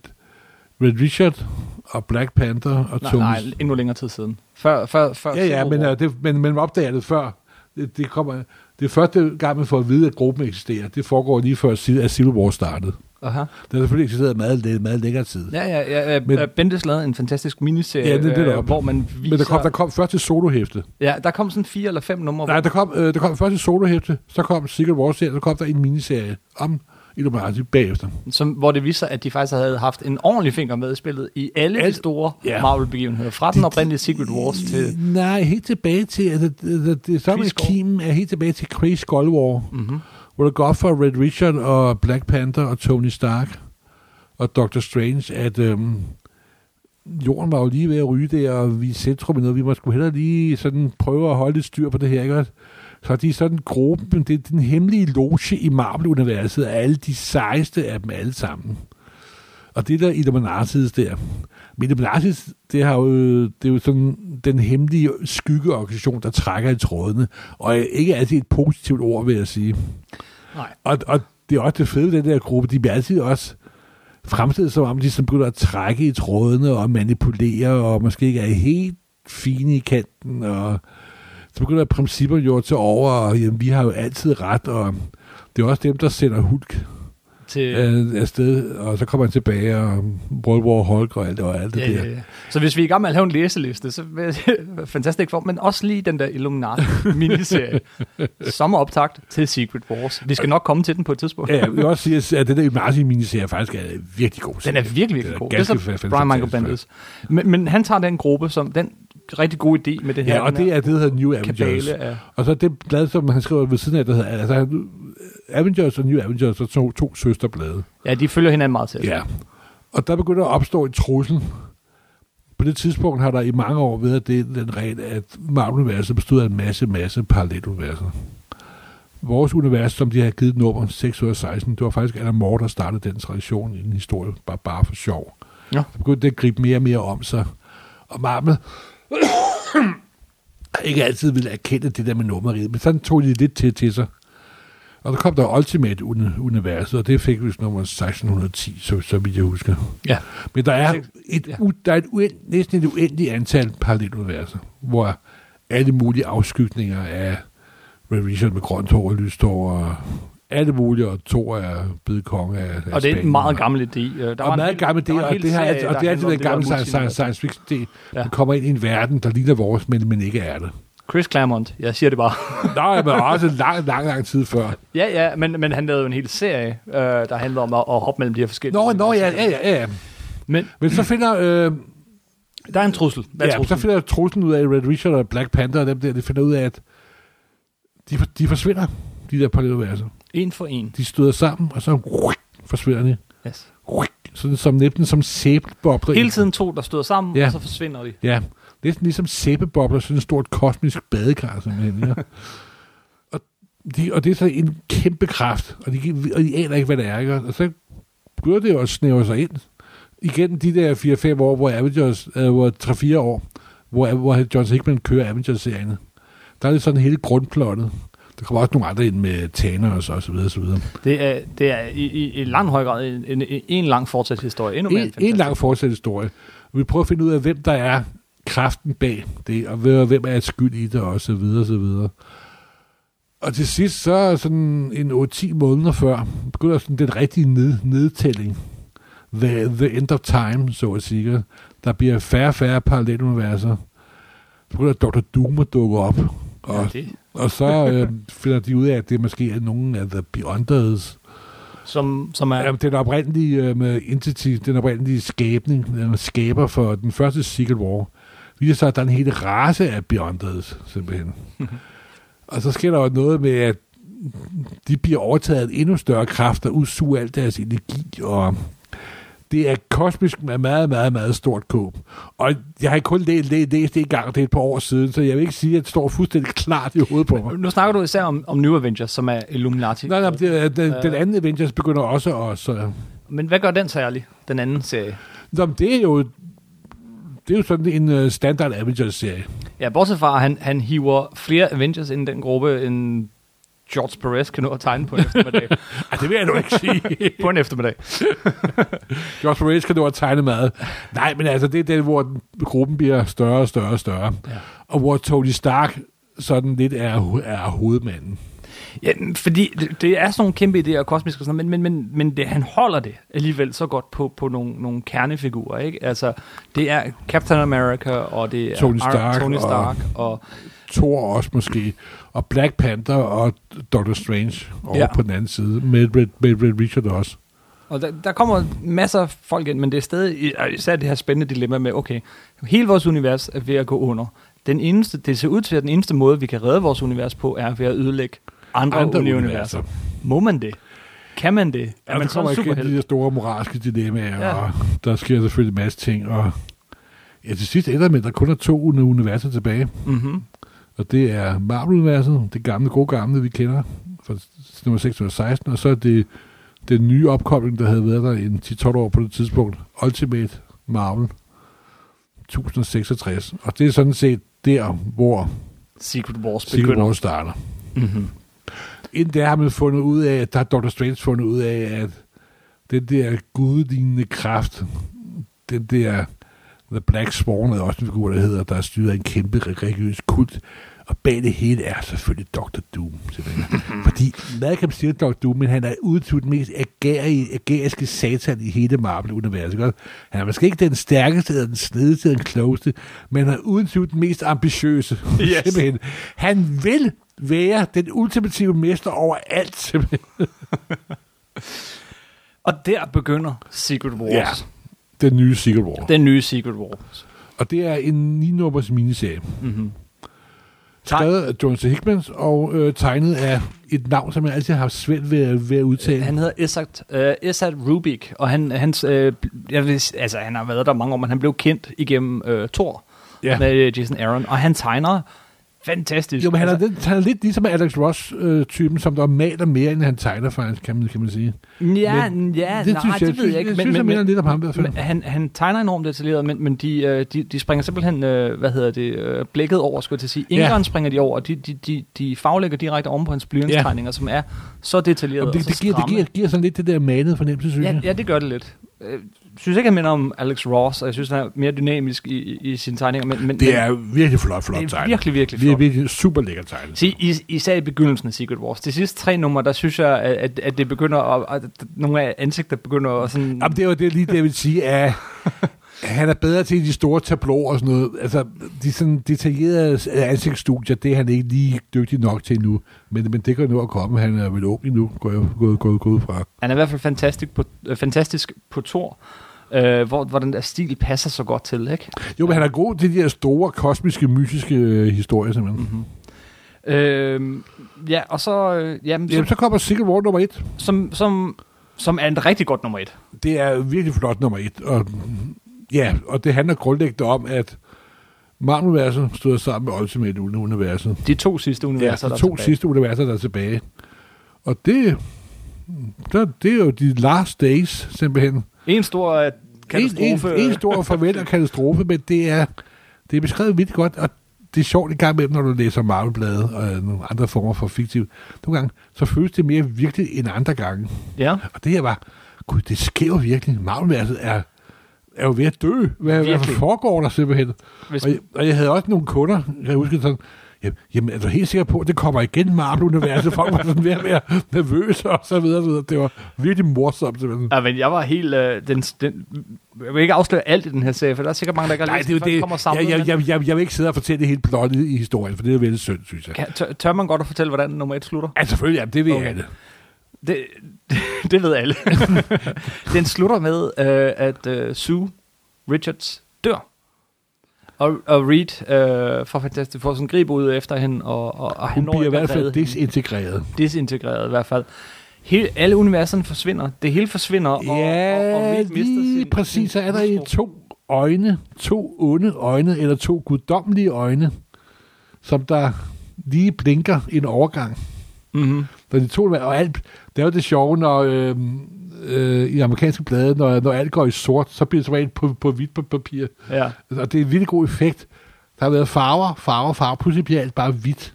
Speaker 2: Red Richard og Black Panther og
Speaker 1: nej,
Speaker 2: Tony...
Speaker 1: nej, endnu længere tid siden. Før, før, før
Speaker 2: Ja, ja,
Speaker 1: Civil
Speaker 2: men,
Speaker 1: War.
Speaker 2: øh, det, men man opdager det før. Det, det, kommer, det er første gang, man får at vide, at gruppen eksisterer. Det foregår lige før, si- at Civil War startede.
Speaker 1: Aha.
Speaker 2: Den har selvfølgelig eksisteret meget, læ- meget længere tid.
Speaker 1: Ja, ja, ja, ja. Men,
Speaker 2: Men-
Speaker 1: Bendis lavede en fantastisk miniserie,
Speaker 2: Ja, det er det, der
Speaker 1: øh,
Speaker 2: er.
Speaker 1: hvor man viser...
Speaker 2: Men der kom, der kom først til solohæfte.
Speaker 1: Ja, der kom sådan fire eller fem numre,
Speaker 2: Nej, der kom, øh, der kom først til solohæfte, så kom Secret War-serien, så kom der en miniserie om Illuminati bagefter.
Speaker 1: som, hvor det viser sig, at de faktisk havde haft en ordentlig finger med i spillet i alle de
Speaker 2: Alt-
Speaker 1: store
Speaker 2: Ja.
Speaker 1: Marvel-begivenheder. Fra den oprindelige Secret Wars til...
Speaker 2: Nej, helt tilbage til... Altså, det, det, det, samme
Speaker 1: Kree
Speaker 2: med
Speaker 1: Skull.
Speaker 2: Kim er helt tilbage til Kree Skull War,
Speaker 1: Mm-hmm.
Speaker 2: hvor det går op for Red Richard og Black Panther og Tony Stark og Doctor Strange, at øhm, jorden var jo lige ved at ryge der, og vi er i centrum i noget. Vi må sgu hellere lige sådan prøve at holde lidt styr på det her, ikke også? Så de er sådan gruppen, det er den hemmelige loge i Marvel-universet, af alle de sejeste af dem alle sammen. Og det der Illuminatis der, men Illuminatis, det, har jo, det er jo sådan den hemmelige skyggeorganisation, der trækker i trådene, og ikke altid et positivt ord, vil jeg sige.
Speaker 1: Nej.
Speaker 2: Og, og det er også det fede ved den der gruppe, de bliver altid også fremstillet som om, de sådan begynder at trække i trådene og manipulere, og måske ikke er helt fine i kanten, og så begynder principper jo at tage over, og jamen, vi har jo altid ret, og det er også dem, der sender Hulk
Speaker 1: Til,
Speaker 2: øh, afsted, og så kommer han tilbage, og World War Hulk og alt, og alt det
Speaker 1: ja,
Speaker 2: der.
Speaker 1: ja, ja. Så hvis vi er i gang med at lave en læseliste, så vil fantastisk for, men også lige den der Illuminati-miniserie, som er optagt til Secret Wars. Vi skal nok komme til den på et tidspunkt.
Speaker 2: Ja, jeg vil også sige, at den der Martin-miniserie faktisk er en virkelig god.
Speaker 1: Den
Speaker 2: serie.
Speaker 1: er virkelig,
Speaker 2: Den
Speaker 1: virkelig
Speaker 2: er
Speaker 1: god. Det er
Speaker 2: ganske
Speaker 1: så
Speaker 2: fa-
Speaker 1: Brian Michael
Speaker 2: fantastisk,
Speaker 1: Bendis. Men, men han tager den gruppe som den rigtig gode idé med det her.
Speaker 2: Ja, og
Speaker 1: den
Speaker 2: det
Speaker 1: her
Speaker 2: er det, der hedder New Avengers.
Speaker 1: kabale af...
Speaker 2: Og så det blad, som han skriver ved siden af, der hedder altså, han- Avengers og New Avengers, og to, to søsterblade.
Speaker 1: Ja, de følger hinanden meget tæt.
Speaker 2: Ja. Og der begynder at opstå en trussel. På det tidspunkt har der i mange år været det, den regel, at Marvel-universet bestod af en masse, masse paralleluniverser. Vores univers, som de har givet nummer 6 ud af 16, det var faktisk Alan Moore, der startede den tradition i en historie, bare, bare for sjov.
Speaker 1: Ja.
Speaker 2: Så begyndte det at gribe mere og mere om sig. Og Marvel har ikke altid ville erkende det der med nummeriet, men sådan tog de lidt til, til sig. Og så kom der Ultimate Uni- Universet, og det fik vi nummer 1610, så, så vidt jeg husker.
Speaker 1: ja.
Speaker 2: Men der er et,
Speaker 1: Ja.
Speaker 2: u, der er et uend, næsten et uendeligt antal paralleluniverser, hvor alle mulige afskygninger af Red Richard med grønt hår og lyst hår, og alle mulige, og to er blevet konge af, af
Speaker 1: Og det er en
Speaker 2: Spanien.
Speaker 1: meget gammel idé. Øh, Der
Speaker 2: Der og
Speaker 1: en
Speaker 2: meget
Speaker 1: hel-
Speaker 2: gammel
Speaker 1: der var
Speaker 2: det,
Speaker 1: en
Speaker 2: og
Speaker 1: hel
Speaker 2: det, har,
Speaker 1: serie,
Speaker 2: og
Speaker 1: der
Speaker 2: det er
Speaker 1: handlede
Speaker 2: altid
Speaker 1: om
Speaker 2: den
Speaker 1: der
Speaker 2: gamle science,
Speaker 1: multiverse.
Speaker 2: science, science fiction idé.
Speaker 1: Ja.
Speaker 2: Ja. Man kommer ind i en verden, der ligner vores, men, men ikke er det.
Speaker 1: Chris Claremont, jeg siger det bare.
Speaker 2: Nej, men også lang, lang, lang tid før.
Speaker 1: ja, ja, men, men han lavede jo en hel serie, øh, der handlede om at, at hoppe mellem de her forskellige...
Speaker 2: Nå, nå, ja, ja, ja. ja.
Speaker 1: Men
Speaker 2: Men så finder, øh,
Speaker 1: der er en trussel. Hvad ja,
Speaker 2: ja, så
Speaker 1: trussel?
Speaker 2: finder truslen ud af, at Red Richard og Black Panther og dem der, de finder ud af, at de, de forsvinder, de der paralleluniverser.
Speaker 1: En for en.
Speaker 2: De støder sammen, og så forsvinder de.
Speaker 1: Yes.
Speaker 2: Sådan som næsten som sæbebobler.
Speaker 1: Hele tiden to, der støder sammen, ja.
Speaker 2: Ja.
Speaker 1: og så forsvinder de.
Speaker 2: Ja, næsten ligesom sæbebobler, sådan et stort kosmisk badekar, simpelthen. Ja. og, de, og det er så en kæmpe kraft, og de, gi- og de aner ikke, hvad det er. Ikke? Og så begynder det jo at snævre sig ind. Igen de der 4-5 år, hvor Avengers, øh, hvor 3-4 år, hvor, hvor John Hickman kører Avengers-serien. Der er det sådan hele grundplottet. Der kommer også nogle andre ind med Thanos og så videre, og så videre.
Speaker 1: Det er, det er i, i, i lang høj grad en, en, en, en lang fortsat historie. Endnu mere
Speaker 2: En,
Speaker 1: end
Speaker 2: en
Speaker 1: Fantastic
Speaker 2: lang fortsat historie. Og vi prøver at finde ud af, hvem der er kraften bag det, og hvem- hvem er skyld i det, og så videre, og så videre. Og til sidst, så sådan en 8-10 måneder før, begynder sådan den rigtige ned, nedtælling. The, the end of time, så at sige. Der bliver færre og færre paralleluniverser. Så begynder Dr. Doom at dukke op. Og,
Speaker 1: Ja, det,
Speaker 2: og så øh, finder de ud af, at det måske er nogen af The Beyonders,
Speaker 1: som, som er...
Speaker 2: Ja, den oprindelige øh, med entity, den oprindelige skæbning, den skaber for den første Secret War, viser sig, at der er en hel race af Beyonders, simpelthen. og så sker der jo noget med, at de bliver overtaget af en endnu større kraft, der udsuger al deres energi, og det er kosmisk med meget, meget, meget stort kåb. Og jeg har kun læst, læst, læst det en gang, og det er et par år siden, så jeg vil ikke sige, at det står fuldstændig klart i hovedet på mig.
Speaker 1: Nu snakker du især om, om New Avengers, som er Illuminati.
Speaker 2: Nej, nej, men det, er- den,
Speaker 1: Øh.
Speaker 2: den anden Avengers begynder også at... Så,
Speaker 1: Men hvad gør den særlig, den anden serie?
Speaker 2: Nå, men det er jo det er jo sådan en øh, standard Avengers-serie.
Speaker 1: Ja, bortset fra, at han, han hiver flere Avengers ind i den gruppe, end George Perez kan nå at tegne på en eftermiddag.
Speaker 2: Ej, det vil jeg nu ikke sige.
Speaker 1: på en eftermiddag.
Speaker 2: Josh Perez kan nu have tegnet meget. Nej, men altså, det er den, hvor den- gruppen bliver større og større og større.
Speaker 1: Ja.
Speaker 2: Og hvor Tony Stark sådan lidt er, ho- er hovedmanden.
Speaker 1: Ja, fordi det, det er sådan nogle kæmpe idéer og kosmisk og sådan noget, men, men, men, men det, han holder det alligevel så godt på, på nogle, nogle kernefigurer, ikke? Altså, det er Captain America, og det er
Speaker 2: Tony
Speaker 1: Iron-
Speaker 2: Stark
Speaker 1: Tony
Speaker 2: og-
Speaker 1: Stark og, og
Speaker 2: Thor også måske. Og Black Panther og Doctor Strange over
Speaker 1: Ja.
Speaker 2: ja. på den anden side. Med, med, med, med Richard også.
Speaker 1: Og der, der kommer masser af folk ind, men det er stadig og især det her spændende dilemma med, okay, hele vores univers er ved at gå under. Den eneste, det ser ud til, at den eneste måde, vi kan redde vores univers på, er ved at ødelægge andre, andre universer. universer. Må man det? Kan man det? Er
Speaker 2: Ja,
Speaker 1: man
Speaker 2: man
Speaker 1: så
Speaker 2: kommer
Speaker 1: en
Speaker 2: ikke ind i de
Speaker 1: superhelt?
Speaker 2: der store moralske dilemmaer,
Speaker 1: Ja.
Speaker 2: ja. og der sker selvfølgelig en masse ting, og ja, til sidst ender det med, at der kun er to uni- universer tilbage,
Speaker 1: Mm-hmm.
Speaker 2: og det er Marvel-universet, det gamle, gode gamle, vi kender, fra s- nummer 616, og så er det den nye opkobling, der havde været der en 10-12 år på det tidspunkt, Ultimate Marvel 1066, og det er sådan set der, hvor
Speaker 1: Secret Wars begynder.
Speaker 2: Secret Wars starter.
Speaker 1: Mm-hmm.
Speaker 2: Inden der har man fundet ud af, der har Dr. Strange fundet ud af, at den der gudlignende kraft, den der The Black Swan, er også en figur, der hedder, der er styret af en kæmpe religiøs kult, og bag det hele er selvfølgelig Dr. Doom, simpelthen. Fordi Malcolm siger Dr. Doom, men han er udtrykt den mest agerige, ageriske satan i hele Marvel-universet. ikke også? Han er måske ikke den stærkeste, eller den snedeste, eller den klogeste, men han er uden tvivl den mest ambitiøse.
Speaker 1: Yes.
Speaker 2: Simpelthen. Han vil være den ultimative mester over alt, simpelthen.
Speaker 1: Og der begynder Secret Wars.
Speaker 2: Den nye Secret War.
Speaker 1: Den nye Secret Wars.
Speaker 2: Og det er en 9-nummers miniserie.
Speaker 1: Mm-hmm.
Speaker 2: Skrevet af John C. Hickman og øh, tegnet af et navn, som jeg altid har haft svært ved, at- ved at udtale.
Speaker 1: Han hedder Esat, øh, Esat Rubik, og han, hans, øh, jeg vil, s- altså, han har været der mange år, men han blev kendt igennem øh, Thor ja.
Speaker 2: Ja.
Speaker 1: med øh, Jason Aaron, og han tegner fantastisk.
Speaker 2: jo, men han,
Speaker 1: altså,
Speaker 2: er, lidt- han er lidt ligesom Alex Ross-typen, som der maler mere, end han tegner, faktisk, kan man, kan man sige.
Speaker 1: ja,
Speaker 2: men
Speaker 1: ja,
Speaker 2: det
Speaker 1: nej,
Speaker 2: synes jeg,
Speaker 1: det ved jeg ikke.
Speaker 2: Jeg synes, jeg minder lidt om ham i hvert fald.
Speaker 1: men han, han tegner enormt detaljeret, men, men de, øh, de, de springer simpelthen, øh, hvad hedder det, øh, blækket over, skulle jeg til at sige.
Speaker 2: Ja.
Speaker 1: Ingeren ja. springer de over, de, de, de, de faglægger direkte oven på hans blyantstegninger, ja. som er så detaljerede
Speaker 2: Jamen,
Speaker 1: og
Speaker 2: det,
Speaker 1: så
Speaker 2: det, giver, det
Speaker 1: stramme.
Speaker 2: giver, giver sådan lidt det der manede fornemmelse, synes
Speaker 1: altså, Ja,
Speaker 2: jeg.
Speaker 1: ja, det gør det lidt. Jeg synes ikke, han minder om Alex Ross, og jeg synes, han er mere dynamisk i, i, i sine tegninger. Men, men,
Speaker 2: Det er virkelig flot, flot
Speaker 1: men, det er
Speaker 2: tegnet.
Speaker 1: virkelig, virkelig
Speaker 2: Det er
Speaker 1: flot.
Speaker 2: virkelig super lækker tegnet.
Speaker 1: Se, is, især i begyndelsen af Secret Wars. De sidste tre numre, der synes jeg, at, at- at det begynder at, at nogle af ansigter begynder at sådan...
Speaker 2: Jamen, det er jo det, lige det, jeg vil sige, at han er bedre til de store tableauer og sådan noget. Altså, de sådan detaljerede ansigtsstudier, det er han ikke lige dygtig nok til nu. Men, men det kan nu at komme. Han er vel ung endnu, går jeg går, går, går ud fra.
Speaker 1: Han er i hvert fald fantastisk på, øh, fantastisk på Thor, øh, hvor, hvor den der stil passer så godt til, ikke?
Speaker 2: Jo, men han er god til de her store, kosmiske, mystiske øh, historier, simpelthen. Mm-hmm.
Speaker 1: Øh, ja, og så... Øh, jamen,
Speaker 2: Jamen,
Speaker 1: så
Speaker 2: så kommer Secret War nummer et.
Speaker 1: som, som, som er en rigtig godt nummer et.
Speaker 2: Det er virkelig flot nummer et. Og, ja, og det handler grundlæggende om, at Marvel-universet stod sammen med Ultimate-universet.
Speaker 1: De to sidste
Speaker 2: Ja,
Speaker 1: universer, der er
Speaker 2: de to
Speaker 1: tilbage.
Speaker 2: sidste universer, der er tilbage. Og det, der, det er jo de last days, simpelthen.
Speaker 1: En stor øh,
Speaker 2: En,
Speaker 1: katastrofe. øh,
Speaker 2: en, en stor farvel og katastrofe, men det er, Det er beskrevet vildt godt, og det er sjovt i gang med, når du læser Marvel-blade og øh, nogle andre former for fiktiv. Nogle gange, så føles det mere virkeligt end andre gange.
Speaker 1: Ja.
Speaker 2: Og det her var, gud, det sker jo virkelig. Marvel-værelset er, er jo ved at dø. Hvad, hvad
Speaker 1: Virkelig.
Speaker 2: foregår der simpelthen?
Speaker 1: Hvis,
Speaker 2: Og jeg, og jeg havde også nogle kunder, jeg husker sådan, "Jamen- jamen er du helt sikker på, at det kommer igen Marvel-universet? Folk var sådan mere og mere nervøse og så videre, og så videre. Det var virkelig morsomt simpelthen.
Speaker 1: ja, men jeg var helt... Øh, den, den, jeg vil ikke afsløre alt i den her serie, for der er sikkert mange, der ikke har
Speaker 2: Nej,
Speaker 1: læst
Speaker 2: det er jo
Speaker 1: den, før den kommer
Speaker 2: det.
Speaker 1: samlet.
Speaker 2: Jeg, jeg,
Speaker 1: men-
Speaker 2: jeg, jeg, jeg vil ikke sidde og fortælle det hele plottet i historien, for det er veldig synd, synes jeg.
Speaker 1: Kan, tør, tør man godt at fortælle, hvordan nummer et slutter?
Speaker 2: Ja, selvfølgelig, jamen, det vil
Speaker 1: Okay.
Speaker 2: jeg alle.
Speaker 1: Det, det, det ved alle. den slutter med, øh, at øh, Sue Richards dør. Og, og Reed øh, fra Fantastic Four sådan griber ud efter hende, og, og, og han
Speaker 2: Hun
Speaker 1: når
Speaker 2: bliver i
Speaker 1: ikke at
Speaker 2: hvert fald
Speaker 1: redde hende.
Speaker 2: disintegreret.
Speaker 1: disintegreret i hvert fald. Hele, alle universerne forsvinder. Det hele forsvinder, og, og, og
Speaker 2: Ja,
Speaker 1: Reed mister
Speaker 2: lige
Speaker 1: sin,
Speaker 2: præcis, så
Speaker 1: sin
Speaker 2: er der i
Speaker 1: hustru.
Speaker 2: to øjne, to onde øjne, eller to guddommelige øjne, som der lige blinker en overgang.
Speaker 1: Mhm.
Speaker 2: Når de to, og alt, det er jo det sjove, når øh, øh, i amerikanske blade, når, når alt går i sort, så bliver det som regel på, på hvidt på papir.
Speaker 1: Ja.
Speaker 2: Og det er en vildt god effekt. Der har været farver, farver, farver. Pludselig bliver alt bare hvidt.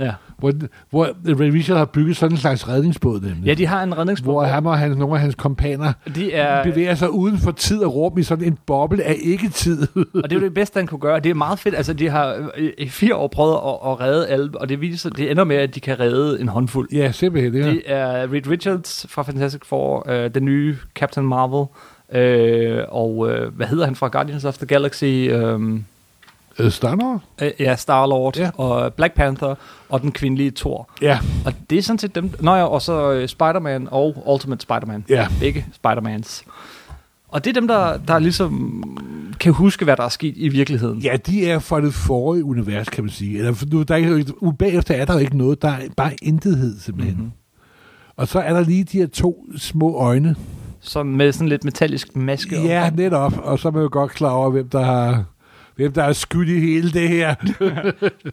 Speaker 1: Ja.
Speaker 2: Hvor, hvor Ray Richard har bygget sådan en slags redningsbåd, nemlig.
Speaker 1: ja, de har en redningsbåd.
Speaker 2: hvor ham og hans, nogle af hans kompaner
Speaker 1: de er,
Speaker 2: bevæger sig uden for tid og rum i sådan en boble af ikke-tid.
Speaker 1: og det er jo det bedste, han kunne gøre. Det er meget fedt. Altså, de har i- i fire år prøvet at, at redde alle, og det, viser, det ender med, at de kan redde en håndfuld.
Speaker 2: ja, simpelthen. Det,
Speaker 1: Det er Reed Richards fra Fantastic Four, øh, den nye Captain Marvel, øh, og øh, hvad hedder han fra Guardians of the Galaxy? Øh,
Speaker 2: er Stunner?
Speaker 1: øh, ja, Star-Lord
Speaker 2: Ja.
Speaker 1: og Black Panther og den kvindelige Thor.
Speaker 2: Ja,
Speaker 1: Og det er sådan set dem... Nå ja, og så øh, Spider-Man og Ultimate Spider-Man.
Speaker 2: ja.
Speaker 1: Begge Spider-Mans. Og det er dem, der, der ligesom kan huske, hvad der er sket i virkeligheden.
Speaker 2: Ja, de er fra det forrige univers, kan man sige. Eller, for nu, der er ikke, u- bagefter er der jo ikke noget, der er bare intethed simpelthen.
Speaker 1: Mhm.
Speaker 2: Mm-hmm. Og så er der lige de her to små øjne.
Speaker 1: Som med sådan lidt metallisk maske. om.
Speaker 2: Ja, netop. Og så er man jo godt klar over, hvem der har hvem der er skyld i hele det her.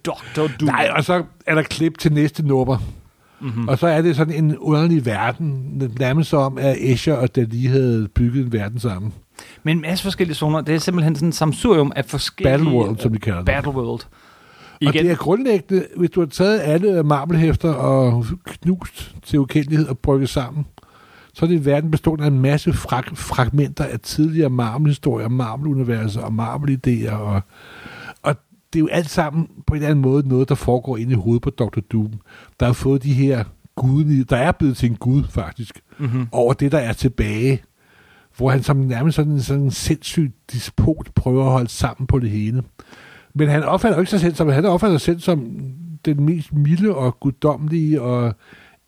Speaker 1: Dr. Doom.
Speaker 2: Nej, og så er der klip til næste nummer.
Speaker 1: Mhm.
Speaker 2: Mm-hmm. Og så er det sådan en underlig verden, nærmest som om, at Escher og Dali havde bygget en verden sammen.
Speaker 1: Men en masse forskellige zoner. Det er simpelthen sådan en samsurium af forskellige...
Speaker 2: Battleworld, som de kalder det.
Speaker 1: Battleworld.
Speaker 2: Og
Speaker 1: Igen.
Speaker 2: det er grundlæggende, hvis du har taget alle marmelhæfter og knust til ukendelighed og brygget sammen, så er det en verden bestående af en masse frag- fragmenter af tidligere marmelhistorier, marmeluniverser og marmelidéer. Og, og det er jo alt sammen på en eller anden måde noget, der foregår inde i hovedet på Dr. Doom, der har fået de her gudelige, der er blevet til en gud faktisk,
Speaker 1: Mhm.
Speaker 2: over det, der er tilbage. Hvor han som nærmest sådan, sådan en sindssyg despot prøver at holde sammen på det hele. Men han opfatter jo ikke sig selv som, han opfatter sig selv som den mest milde og guddommelige og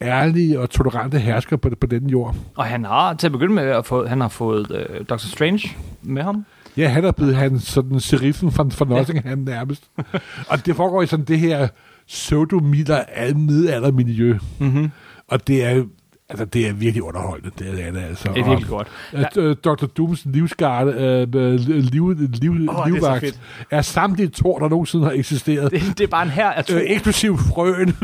Speaker 2: ærlige og tolerante hersker på, på den jord.
Speaker 1: Og han har til at begynde med at få, han har fået øh, Dr. Strange med ham.
Speaker 2: Ja, han er blevet han, sådan seriffen fra, fra Nottingham nærmest. og det foregår i sådan det her pseudomilder al middelaldermiljø.
Speaker 1: Mm-hmm.
Speaker 2: Og det er altså, det er virkelig underholdende. Det er det altså.
Speaker 1: Det er virkelig godt.
Speaker 2: At, øh, Dr. Dooms livsgarde, øh, øh, liv, liv,
Speaker 1: så
Speaker 2: oh, livvagt,
Speaker 1: fedt.
Speaker 2: er, er samtlige tor, der nogensinde har eksisteret.
Speaker 1: Det, det er bare en her af Thor.
Speaker 2: Øh, eksklusiv frøen,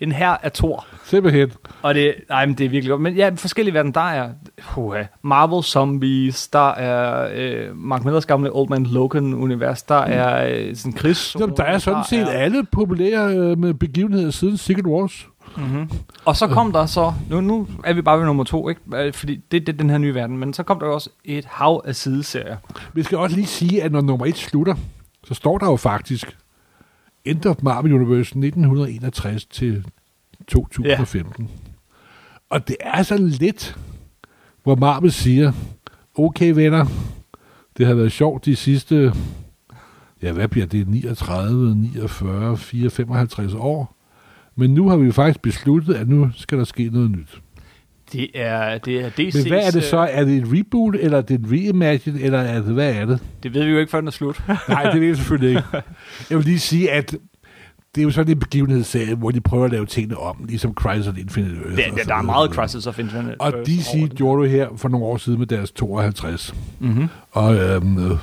Speaker 1: En her af Thor.
Speaker 2: simpelthen.
Speaker 1: Og det, nej, men det er virkelig godt. Men ja, forskellige verden, der er uh, Marvel Zombies, der er øh, Mark Millers gamle Old Man Logan-univers, der er øh, sådan krigs...
Speaker 2: Mm. Jamen, der er sådan set alle populære øh, med begivenheder siden Secret Wars.
Speaker 1: Mm-hmm. Og så kom der så, nu, nu er vi bare ved nummer to, ikke? Øh, fordi det, det er den her nye verden, men så kom der jo også et hav af sideserier.
Speaker 2: Vi skal også lige sige, at når nummer et slutter, så står der jo faktisk End of Marvel Universe 1961 til 2015. Ja. Og det er sådan lidt, hvor Marvel siger, okay venner, det har været sjovt de sidste, ja hvad bliver det, 39, 49, 54, 55 år. Men nu har vi jo faktisk besluttet, at nu skal der ske noget nyt.
Speaker 1: Det er, det er øh, DC's...
Speaker 2: Men hvad er det så? Er det et reboot, eller er det en reimagine, eller er det, hvad er det?
Speaker 1: øh, Det ved vi jo ikke, før den er slut.
Speaker 2: Nej, det ved jeg selvfølgelig ikke. Jeg vil lige sige, at det er jo sådan en begivenhedsserie, hvor de prøver at lave tingene om, ligesom Crisis on Infinite Earth.
Speaker 1: Det,
Speaker 2: og
Speaker 1: det,
Speaker 2: så
Speaker 1: der er
Speaker 2: videre.
Speaker 1: meget Crisis of Infinite.
Speaker 2: Og DC gjorde det her for nogle år siden med deres 52.
Speaker 1: Mm-hmm.
Speaker 2: Og øhm, øh,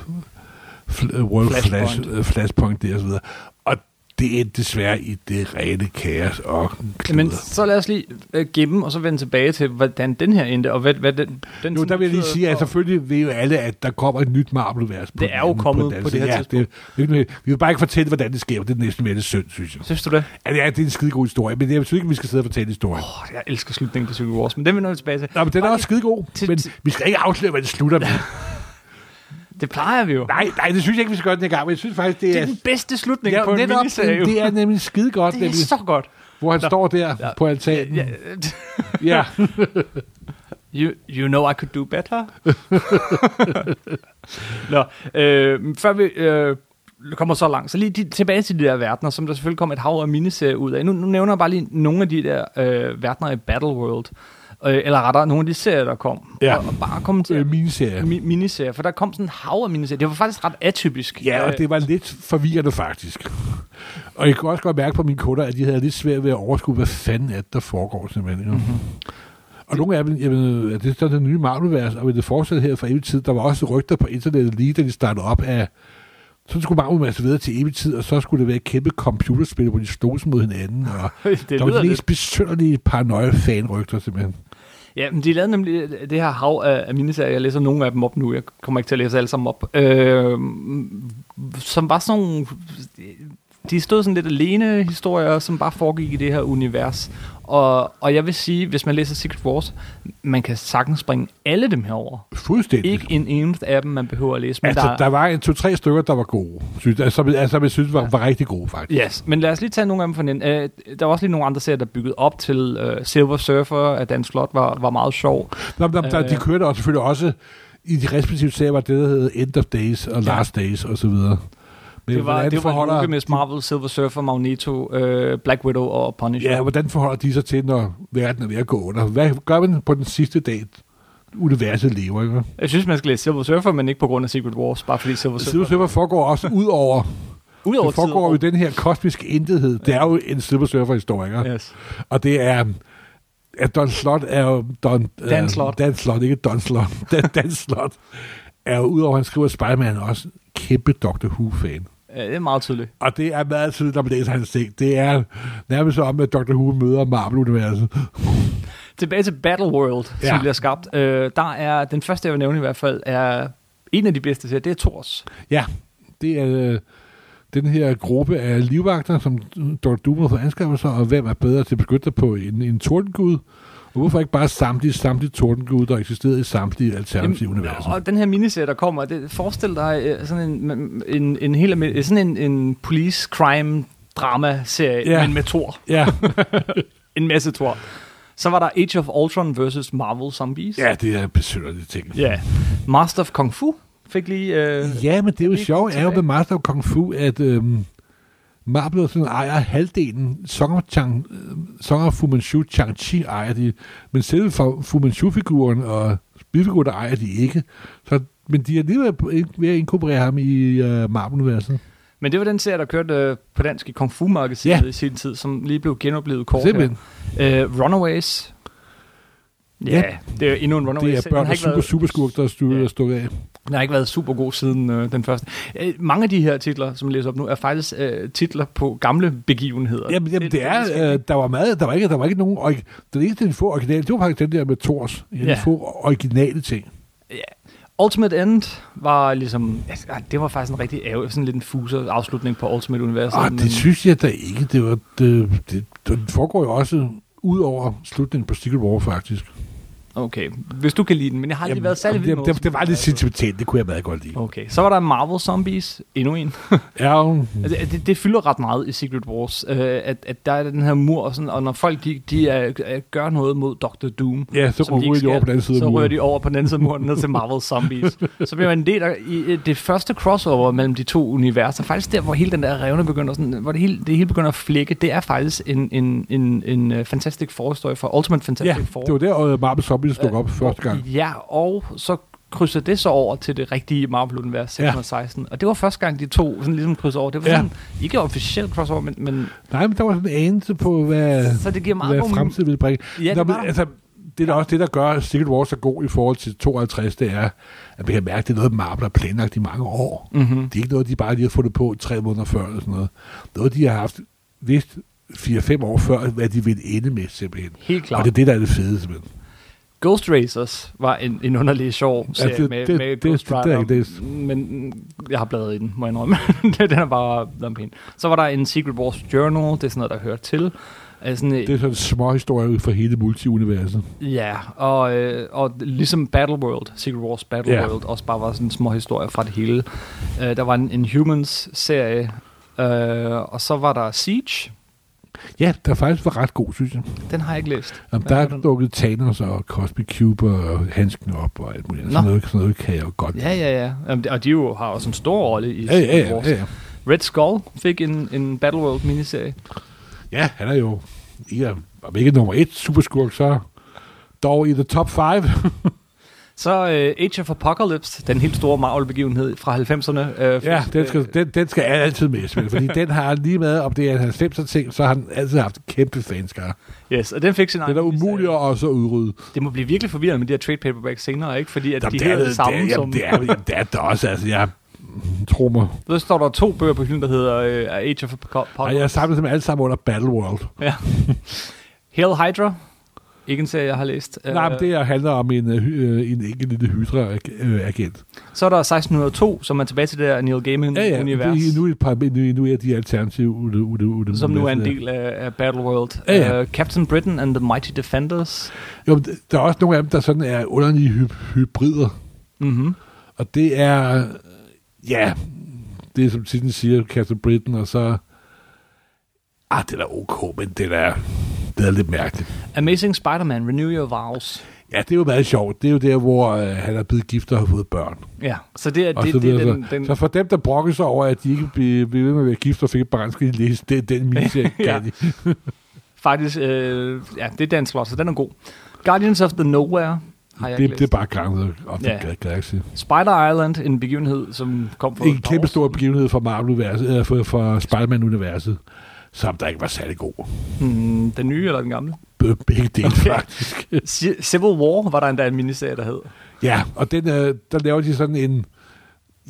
Speaker 2: fl- øh, World Flashpoint,
Speaker 1: Flashpoint.
Speaker 2: Flash, øh, Flashpoint der og så videre. Og det endte desværre i det rene kaos og kludder.
Speaker 1: Men så lad os lige øh, gemme, og så vende tilbage til, hvordan den her endte, og hvad, hvad den... den
Speaker 2: Nu,
Speaker 1: sådan
Speaker 2: der vil jeg lige
Speaker 1: betyder
Speaker 2: sige, altså, at
Speaker 1: for-
Speaker 2: selvfølgelig ved jo alle, at der kommer et nyt Marvel-univers. på
Speaker 1: Det
Speaker 2: den
Speaker 1: er jo
Speaker 2: anden-
Speaker 1: kommet
Speaker 2: den anden
Speaker 1: på det
Speaker 2: side.
Speaker 1: her
Speaker 2: ja, Det, det, er ikke noget- vi vil bare ikke fortælle, hvordan det sker, for det er næsten mere lidt synd, synes jeg.
Speaker 1: Synes du det?
Speaker 2: Altså, ja, det er en skide god historie, men jeg synes ikke, vi skal sidde og fortælle historien. Oh,
Speaker 1: Åh, jeg elsker slutningen på Civil Wars, men den vender vi tilbage til.
Speaker 2: Nå, men den er
Speaker 1: Bare
Speaker 2: også skide god,
Speaker 1: til-
Speaker 2: men
Speaker 1: til-
Speaker 2: vi skal ikke afsløre, hvad det slutter med.
Speaker 1: lige- Det plejer vi jo.
Speaker 2: Nej, nej, det synes jeg ikke, vi skal gøre den her gang, men jeg synes faktisk, det
Speaker 1: Det
Speaker 2: er...
Speaker 1: er den bedste slutning
Speaker 2: Ja,
Speaker 1: på en
Speaker 2: netop,
Speaker 1: miniserie.
Speaker 2: det, det er nemlig skide godt,
Speaker 1: det er
Speaker 2: nemlig,
Speaker 1: så godt.
Speaker 2: hvor han
Speaker 1: Nå.
Speaker 2: står der
Speaker 1: Ja.
Speaker 2: på altanen.
Speaker 1: Ja,
Speaker 2: Ja, ja.
Speaker 1: you, you know I could do better. Nå, øh, før vi øh, kommer så langt, så lige de, tilbage til de der verdener, som der selvfølgelig kom et hav af miniserier ud af. Nu, nu nævner jeg bare lige nogle af de der øh, verdener i Battleworld. Øh, eller rettere, nogle af de serier, der kom.
Speaker 2: Ja.
Speaker 1: Og, og bare komme til
Speaker 2: øh, miniserie.
Speaker 1: mi- miniserier, for der kom sådan en hav af miniserier. Det var faktisk ret atypisk.
Speaker 2: Ja, og
Speaker 1: Øh,
Speaker 2: det var lidt forvirrende faktisk. Og jeg kunne også godt mærke på mine kunder, at de havde lidt svært ved at overskue, hvad fanden er det, der foregår simpelthen.
Speaker 1: Mhm.
Speaker 2: Mm-hmm. Og nogle af dem, jamen, er det er så det nye Marvel-vers, og vil det fortsætte her for evig tid? Der var også rygter på internettet lige, da de startede op af, så skulle Marvel masse videre til evig tid, og så skulle det være et kæmpe computerspil, hvor de slogs mod hinanden. Og
Speaker 1: det
Speaker 2: der var
Speaker 1: lyder
Speaker 2: de
Speaker 1: lidt.
Speaker 2: mest besønderlige paranoia-fanrygter simpelthen.
Speaker 1: Ja, men de lavede nemlig øh, det her hav af, af miniserier. Jeg læser nogle af dem op nu. Jeg kommer ikke til at læse alle sammen op. Øh, som var sådan nogle... De stod sådan lidt alene historier, som bare foregik i det her univers. Og, og jeg vil sige, hvis man læser Secret Wars, man kan sagtens springe alle dem her over.
Speaker 2: Fuldstændig.
Speaker 1: Ikke en eneste af dem, man behøver at læse. Men
Speaker 2: altså, der, var en to-tre stykker, der var gode, synes, altså, som jeg- altså, som jeg synes var, var rigtig gode faktisk.
Speaker 1: Yes, men lad os lige tage nogle af dem for den. Øh, der var også lige nogle andre serier, der byggede op til øh, Silver Surfer af Dan Slot var, var meget sjov.
Speaker 2: Nå, men der,
Speaker 1: Øh,
Speaker 2: de kørte også, selvfølgelig også i de respektive serier, var det, der hedder End of Days og
Speaker 1: Ja.
Speaker 2: ja. Last Days og så videre. Men
Speaker 1: Det var,
Speaker 2: hvordan
Speaker 1: det var en
Speaker 2: forholder-
Speaker 1: uge med Marvel, Silver Surfer, Magneto, øh, Black Widow og Punisher.
Speaker 2: Ja, hvordan forholder de sig til, når verden er ved at gå under? Hvad gør man på den sidste dag, universet lever? Ikke?
Speaker 1: Jeg synes, man skal læse Silver Surfer, men ikke på grund af Secret Wars, bare fordi Silver Surfer...
Speaker 2: Silver Surfer foregår også ud over,
Speaker 1: Udover
Speaker 2: Altså, det foregår jo i
Speaker 1: tiden-
Speaker 2: den her kosmiske intethed. Det er jo en Silver Surfer-historie, ikke?
Speaker 1: Yes.
Speaker 2: og det er... At Don Slot er jo... Don,
Speaker 1: Dan
Speaker 2: øh,
Speaker 1: Slot.
Speaker 2: Dan Slot, ikke Don Slot. Dan, Dan Slot er jo, udover at han skriver Spider-Man, også kæmpe Doctor Who-fan.
Speaker 1: Ja, det er meget tydeligt.
Speaker 2: Og det er meget tydeligt, når man læser hans ting. Det er nærmest som om, at Dr. Who møder Marvel-universet.
Speaker 1: Tilbage til Battle World, ja. som
Speaker 2: Ja.
Speaker 1: bliver skabt. Øh, der er, den første, jeg vil nævne i hvert fald, er en af de bedste serier, det er Thors.
Speaker 2: Ja, det er øh, den her gruppe af livvagter, som Dr. Doom får anskaffet sig, og hvem er bedre til at beskytte dig på en, en tordengud? Og hvorfor ikke bare samtlige, samtlige tordengud, der eksisterede i samtlige alternative universer?
Speaker 1: og den her miniserie, der kommer, det, forestil dig øh, sådan en, en, en, en, helt, almindelig- sådan en, en police crime drama-serie,
Speaker 2: Ja.
Speaker 1: men med Thor.
Speaker 2: Ja,
Speaker 1: En masse Thor. Så var der Age of Ultron versus Marvel Zombies.
Speaker 2: ja, det er besynderlige ting.
Speaker 1: Ja. Yeah. Master of Kung Fu fik lige... Øh,
Speaker 2: Ja, men det er jo
Speaker 1: Vi gik
Speaker 2: sjovt, er jo
Speaker 1: tilbage.
Speaker 2: med Master of Kung Fu, at øhm, Marvel sådan ejer halvdelen. Song of, Chang, øh, Song of Fu Manchu, Chang-Chi ejer de, men selve Fu Fu Manchu-figuren og spilfiguren ejer de ikke. Så, men de er alligevel på- ind- ved at inkorporere ham i øh, Marvel-universet.
Speaker 1: Men det var den serie, der kørte øh, på dansk i Kung Fu-magasinet
Speaker 2: Ja.
Speaker 1: i sin tid, som lige blev genoplevet kort
Speaker 2: Simpelthen.
Speaker 1: her. Øh, Runaways. Ja,
Speaker 2: Ja.
Speaker 1: det er endnu en
Speaker 2: Det
Speaker 1: Runaways.
Speaker 2: er
Speaker 1: har
Speaker 2: børn og
Speaker 1: ikke
Speaker 2: super,
Speaker 1: været,
Speaker 2: super skurk, der er stu-
Speaker 1: Ja.
Speaker 2: stukket af.
Speaker 1: den har ikke været super god siden øh, den første. Øh, mange af de her titler, som jeg læser op nu, er faktisk øh, titler på gamle begivenheder.
Speaker 2: Jamen, jamen det er, øh, der var meget, der var ikke, der var ikke nogen, orig- den eneste af de få originale, det var faktisk den der med Thors, en af
Speaker 1: Ja.
Speaker 2: de få originale ting.
Speaker 1: Ultimate End var ligesom... Altså, ej, det var faktisk en rigtig ærgerlig, sådan lidt en fuser afslutning på Ultimate-universet.
Speaker 2: Ah,
Speaker 1: Altså, men-
Speaker 2: det synes jeg da ikke. Det, var, det, det, det foregår jo også ud over slutningen på Secret War, faktisk.
Speaker 1: Okay, hvis du kan lide den, men jeg har aldrig været særlig vild med
Speaker 2: det, det, det, var lidt
Speaker 1: Ultimate End.
Speaker 2: sentimentalt, det kunne jeg meget godt lide.
Speaker 1: Okay, så var der Marvel Zombies, endnu en.
Speaker 2: Mm. Ja,
Speaker 1: Altså, at det, det fylder ret meget i Secret Wars, øh, at, at der er den her mur, og, sådan, og når folk de, de er, er, gør noget mod Dr. Doom,
Speaker 2: ja så
Speaker 1: som de ikke
Speaker 2: ryger de over
Speaker 1: skal,
Speaker 2: på den anden side af
Speaker 1: så rører
Speaker 2: muren.
Speaker 1: de over på den anden side af muren ned til Marvel Zombies. Så bliver man en del af i, øh, det første crossover mellem de to universer. Faktisk der, hvor hele den der revne begynder, sådan, hvor det hele, det hele begynder at flække, det er faktisk en, en, en, en øh, fantastisk forhistorie for Ultimate Fantastic
Speaker 2: Ja,
Speaker 1: Four.
Speaker 2: det var der, øh, Marvel Zombies dukkede op første gang.
Speaker 1: Ja, og så krydser det så over til det rigtige Marvel-univers
Speaker 2: Ja.
Speaker 1: 616. Og det var første gang, de to sådan ligesom krydsede over. Det var
Speaker 2: Ja.
Speaker 1: sådan, ikke officielt crossover, men, men
Speaker 2: Nej, men der var sådan en anelse på, hvad,
Speaker 1: så det giver meget
Speaker 2: Øh, hvad
Speaker 1: god mening.
Speaker 2: fremtiden ville bringe.
Speaker 1: Ja, det
Speaker 2: Nå, men,
Speaker 1: var der.
Speaker 2: altså, det er da også det, der gør Secret Wars så god i forhold til 52, det er, at man kan mærke, at det er noget, Marvel har planlagt i mange år.
Speaker 1: Mhm.
Speaker 2: Mm-hmm. Det er ikke noget, de bare lige har fundet på tre måneder før eller sådan noget. Noget, de har haft vidst 4-5 år før, hvad de ville ende med simpelthen.
Speaker 1: Helt klart.
Speaker 2: Og det er det, der er det fede simpelthen.
Speaker 1: Ghost Racers var en, en underlig sjov serie
Speaker 2: det-
Speaker 1: med,
Speaker 2: det-
Speaker 1: med
Speaker 2: det-
Speaker 1: Ghost
Speaker 2: det er
Speaker 1: Rider,
Speaker 2: ikke det.
Speaker 1: men mm, jeg har bladret i den, må jeg indrømme. den er bare den er pæn. Så var der en Secret Wars Journal, det er sådan noget, der hører til. Øh, Sådan,
Speaker 2: Det er sådan en små historie ud for hele multiuniverset.
Speaker 1: Ja, og, øh, og ligesom Battleworld, Secret Wars Battleworld, yeah. også bare var sådan små historier fra det hele. Øh, der var en Inhumans-serie, øh, og så var der Siege.
Speaker 2: Ja, der faktisk var ret god, synes jeg.
Speaker 1: Den har jeg ikke læst.
Speaker 2: Jamen,
Speaker 1: Hvad
Speaker 2: der
Speaker 1: var
Speaker 2: er
Speaker 1: den?
Speaker 2: dukket Thanos og Cosmic Cube og handsken op og alt muligt. Sådan
Speaker 1: Nå.
Speaker 2: noget, sådan noget kan jeg jo godt.
Speaker 1: Ja, ja, ja. Jamen, det- Og de jo har også en stor rolle i
Speaker 2: ja, ja,
Speaker 1: Secret
Speaker 2: ja,
Speaker 1: Wars.
Speaker 2: ja, ja.
Speaker 1: Red Skull fik en, en Battleworld-miniserie.
Speaker 2: Ja, han er jo ikke, om ikke nummer et superskurk, så dog i the top five.
Speaker 1: Så øh, Age of Apocalypse, den helt store Marvel-begivenhed fra 90'erne. Øh,
Speaker 2: ja,
Speaker 1: fik-
Speaker 2: den skal, den, den skal altid med, spille, fordi den har lige med, om det er en 90'er ting, så har den altid haft en kæmpe fanskare.
Speaker 1: Øh, Yes, og den fik sin
Speaker 2: Den er umulig at også udrydde.
Speaker 1: Det må blive virkelig forvirrende med de her trade paperbacks senere, ikke? Fordi at
Speaker 2: Jamen,
Speaker 1: de hedder det samme
Speaker 2: det, er,
Speaker 1: som...
Speaker 2: jamen, det, er, jamen, det er det også, altså jeg tror mig.
Speaker 1: Så står der to bøger på hylden, der hedder øh, Age of
Speaker 2: Og jeg
Speaker 1: Apocalypse.
Speaker 2: har samlet dem alle sammen under Battleworld.
Speaker 1: Ja. Hell Hydra. Ikke en serie, jeg har læst.
Speaker 2: Øh, Nej, men det her handler om en, øh, hy- øh, en enkelt lille øh, Hydra-agent.
Speaker 1: Så er der 1602, som er tilbage til det der Neil Gaiman-univers,
Speaker 2: Det er nu et par nu, nu er de alternative ude, ude, ude,
Speaker 1: som nu er en del af, af Battleworld.
Speaker 2: Ja, ja.
Speaker 1: Øh, Captain Britain and the Mighty Defenders.
Speaker 2: Jo, men der er også nogle af dem, der sådan er underlige hy- hybrider.
Speaker 1: Mm-hmm.
Speaker 2: Og det er, ja, det er som titlen siger, Captain Britain, og så, ah, det er da ok, men det er, det er lidt mærkeligt.
Speaker 1: Amazing Spider-Man, Renew Your Vows.
Speaker 2: Ja, det er jo meget sjovt. Det er jo der, hvor øh, han er blevet gift og har fået børn.
Speaker 1: Ja, så det er,
Speaker 2: Og
Speaker 1: det,
Speaker 2: så,
Speaker 1: det
Speaker 2: videre,
Speaker 1: er den...
Speaker 2: så,
Speaker 1: den
Speaker 2: så for dem, der brokker sig over, at de ikke blev blev ved med at være gift og fik et barn, skal de læse det, den miniserie.
Speaker 1: Ja.
Speaker 2: ja.
Speaker 1: faktisk, øh, ja, det er Dan Slot, så den er god. Guardians of the Nowhere har jeg
Speaker 2: det,
Speaker 1: ikke
Speaker 2: det er
Speaker 1: læst.
Speaker 2: bare Guardians of the
Speaker 1: Ja.
Speaker 2: ja. Galaxy.
Speaker 1: Spider Island, en begivenhed, som kom fra...
Speaker 2: en kæmpe stor begivenhed for Marvel-universet, eller for, for Spider-Man-universet, som der ikke var særlig god.
Speaker 1: Hmm, den nye eller den gamle?
Speaker 2: Be- Begge dele, okay. faktisk.
Speaker 1: Ci- Civil War var der endda en miniserie, der hed.
Speaker 2: Ja, og den, øh, der laver de sådan en,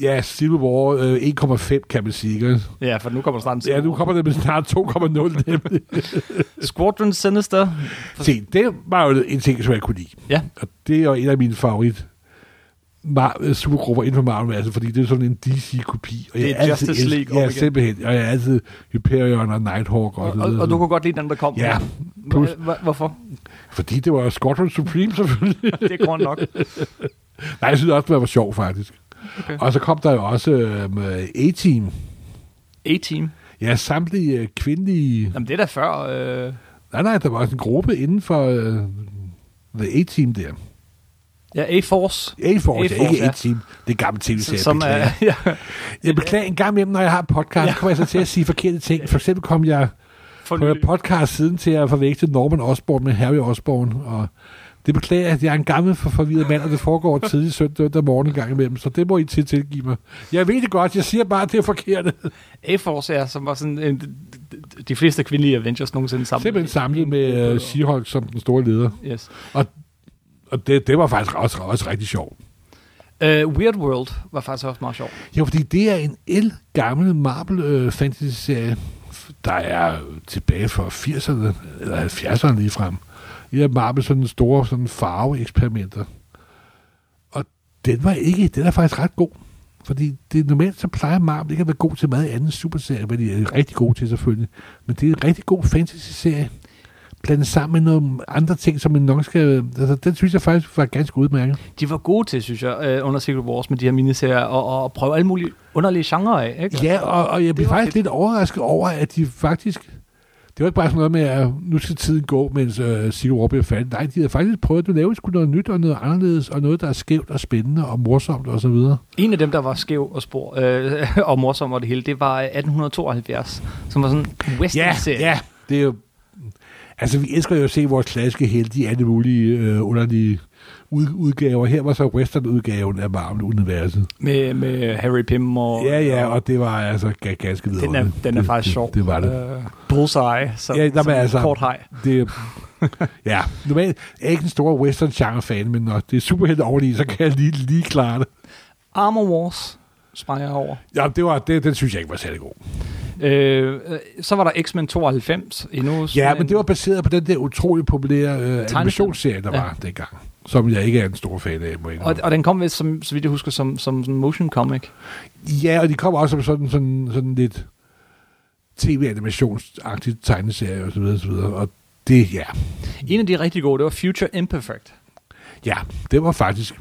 Speaker 2: ja, Civil War øh, 1,5, kan man sige. Ikke?
Speaker 1: Ja, for nu kommer der snart en Civil
Speaker 2: Ja, nu
Speaker 1: War.
Speaker 2: kommer det med snart 2,0. nemlig.
Speaker 1: Squadron Sinister.
Speaker 2: Se, det var jo en ting, som jeg kunne lide.
Speaker 1: Ja,
Speaker 2: Og det er jo en af mine favorit Mar- øh, supergrupper inden for Marvel, altså, fordi det er sådan en DC-kopi. Og
Speaker 1: Det
Speaker 2: jeg
Speaker 1: er
Speaker 2: altid
Speaker 1: Justice
Speaker 2: elsker-
Speaker 1: League op
Speaker 2: Ja,
Speaker 1: igen.
Speaker 2: simpelthen. Og jeg er altid Hyperion og Nighthawk. Og,
Speaker 1: og,
Speaker 2: så
Speaker 1: og,
Speaker 2: videre.
Speaker 1: og du kunne godt lide den, der kom.
Speaker 2: Ja,
Speaker 1: Hva-
Speaker 2: plus-
Speaker 1: hva- Hvorfor?
Speaker 2: Fordi det var Squadron Supreme, selvfølgelig.
Speaker 1: Det er grund nok.
Speaker 2: Nej, jeg synes også, det var sjov, faktisk.
Speaker 1: Okay.
Speaker 2: Okay. Og så kom der jo også øhm, øh, A-Team.
Speaker 1: A-Team.
Speaker 2: Ja, samtlige øh, kvindelige...
Speaker 1: Jamen, det er da før... Øh...
Speaker 2: Nej, nej, der var også en gruppe inden for øh, The A-Team der.
Speaker 1: Ja, A-Force.
Speaker 2: A-Force,
Speaker 1: A-Force,
Speaker 2: ja, ikke
Speaker 1: ja.
Speaker 2: A-Team. Det er gammel tv-serie,
Speaker 1: Som er...
Speaker 2: beklager.
Speaker 1: Ja,
Speaker 2: Jeg beklager en gang imellem, når jeg har podcast,
Speaker 1: Ja.
Speaker 2: ja. kommer jeg så til at sige forkerte ting. For eksempel kom jeg
Speaker 1: for
Speaker 2: på en
Speaker 1: nylig.
Speaker 2: podcast siden til at forveksle Norman Osborn med Harry Osborn, og det beklager jeg, at jeg er en gammel for forvirret mand, og det foregår tidlig søndag morgen en gang imellem, så det må I til tilgive mig. Jeg ved det godt, jeg siger bare, at det er forkert.
Speaker 1: A-Force, ja, som var sådan... En, de fleste kvindelige Avengers nogensinde sammen.
Speaker 2: Simpelthen samlet med uh, She-Hulk som den store leder.
Speaker 1: Yes.
Speaker 2: Og det, det var faktisk også, også rigtig sjovt.
Speaker 1: Uh, Weird World var faktisk også meget sjov.
Speaker 2: Jo, fordi det er en el gammel Marvel øh, fantasy-serie, der er tilbage fra 80'erne, eller 70'erne lige frem. I har Marvel sådan store sådan farveeksperimenter. Og den var ikke, den er faktisk ret god. Fordi det normalt, så plejer Marvel ikke at være god til meget andet superserie, hvad de er rigtig gode til selvfølgelig. Men det er en rigtig god fantasy-serie, blandet sammen med nogle andre ting, som man nok skal... Altså, den synes jeg faktisk var ganske udmærket.
Speaker 1: De var gode til, synes jeg, øh, under Secret Wars med de her miniserier, og, og, og prøve alle mulige underlige genrer af, ikke?
Speaker 2: Ja, og, og jeg blev
Speaker 1: Altså, var
Speaker 2: faktisk
Speaker 1: fedt.
Speaker 2: fedt. lidt overrasket over, at de faktisk... Det var ikke bare sådan noget med, at nu skal tiden gå, mens øh, Zero War bliver færdig. Nej, de havde faktisk prøvet at lave sgu noget nyt og noget anderledes, og noget, der er skævt og spændende og morsomt og så videre.
Speaker 1: En af dem, der var skæv og spor øh, og morsom øh, og det hele, det var 1872, som var sådan en western-serie.
Speaker 2: det er jo... Altså, vi elsker jo at se vores klassiske helte i alle mulige øh, underlige ud, udgaver. Her var så western-udgaven af Marvel-universet.
Speaker 1: Med, med Harry Pym og...
Speaker 2: Ja, ja, og det var altså ga- ganske
Speaker 1: den er,
Speaker 2: vidunderligt.
Speaker 1: den er
Speaker 2: Det-
Speaker 1: faktisk
Speaker 2: det,
Speaker 1: sjov.
Speaker 2: Det var det.
Speaker 1: Uh, bullseye, som, ja,
Speaker 2: Ja, der
Speaker 1: som
Speaker 2: var altså-
Speaker 1: kort hej.
Speaker 2: Det, ja, normalt er jeg ikke en stor western-genre-fan, men når det er superhelte oveni, så kan jeg lige, lige klare det.
Speaker 1: Armor Wars sprang jeg over.
Speaker 2: Ja, det var, det, den synes jeg ikke var særlig god.
Speaker 1: Øh, øh, så var der X-Men 92 endnu. sådan
Speaker 2: Ja, men
Speaker 1: en-
Speaker 2: det var baseret på den der utrolig populære øh, animationsserie, der
Speaker 1: Ja.
Speaker 2: ja. var dengang, som jeg ikke er en stor fan af. Må jeg
Speaker 1: Og,
Speaker 2: indrømme.
Speaker 1: og den kom vist, som, så vidt jeg husker, som, som sådan en motion comic.
Speaker 2: Ja, og de kom også som sådan, sådan, sådan lidt tv-animationsagtigt tegneserie og så videre, og så videre. Og det, ja,
Speaker 1: En af de rigtig gode, det var Future Imperfect.
Speaker 2: ja, det var faktisk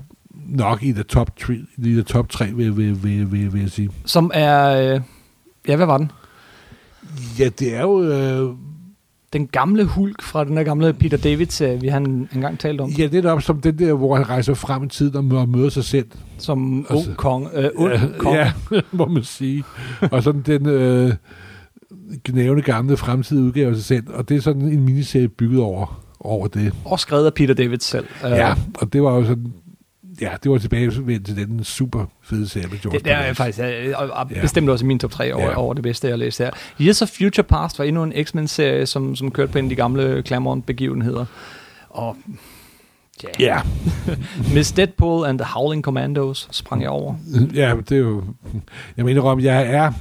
Speaker 2: nok i the top tre, i the top tre vil, vil, vil, vil, vil jeg sige.
Speaker 1: Som er... Øh, ja, hvad var den?
Speaker 2: Ja, det er jo... Øh,
Speaker 1: Den gamle Hulk fra den der gamle Peter David, vi har en, engang talt om.
Speaker 2: ja, det er op som den der, hvor han rejser frem i tiden og møder sig selv.
Speaker 1: Som
Speaker 2: Altså-
Speaker 1: ung kong. Øh, ond kong.
Speaker 2: Ja, må man sige. Og sådan den øh, gnævende gamle fremtidige udgave af sig selv. Og det er sådan en miniserie bygget over, over det.
Speaker 1: Og skrevet af Peter David selv. Øh,
Speaker 2: Ja, og det var jo sådan... Ja, det var tilbagevendt til den super fede serie med George
Speaker 1: Det, det er
Speaker 2: Perez.
Speaker 1: faktisk er, og, og
Speaker 2: Ja.
Speaker 1: bestemt også i min top 3 over,
Speaker 2: Ja.
Speaker 1: over det bedste, jeg har læst her. Years of Future Past var endnu en X-Men-serie, som, som kørte på en af de gamle Claremont-begivenheder. Og ja,
Speaker 2: Ja,
Speaker 1: Miss Deadpool and the Howling Commandos sprang jeg over.
Speaker 2: ja, det er jo... Jeg mener om, jeg er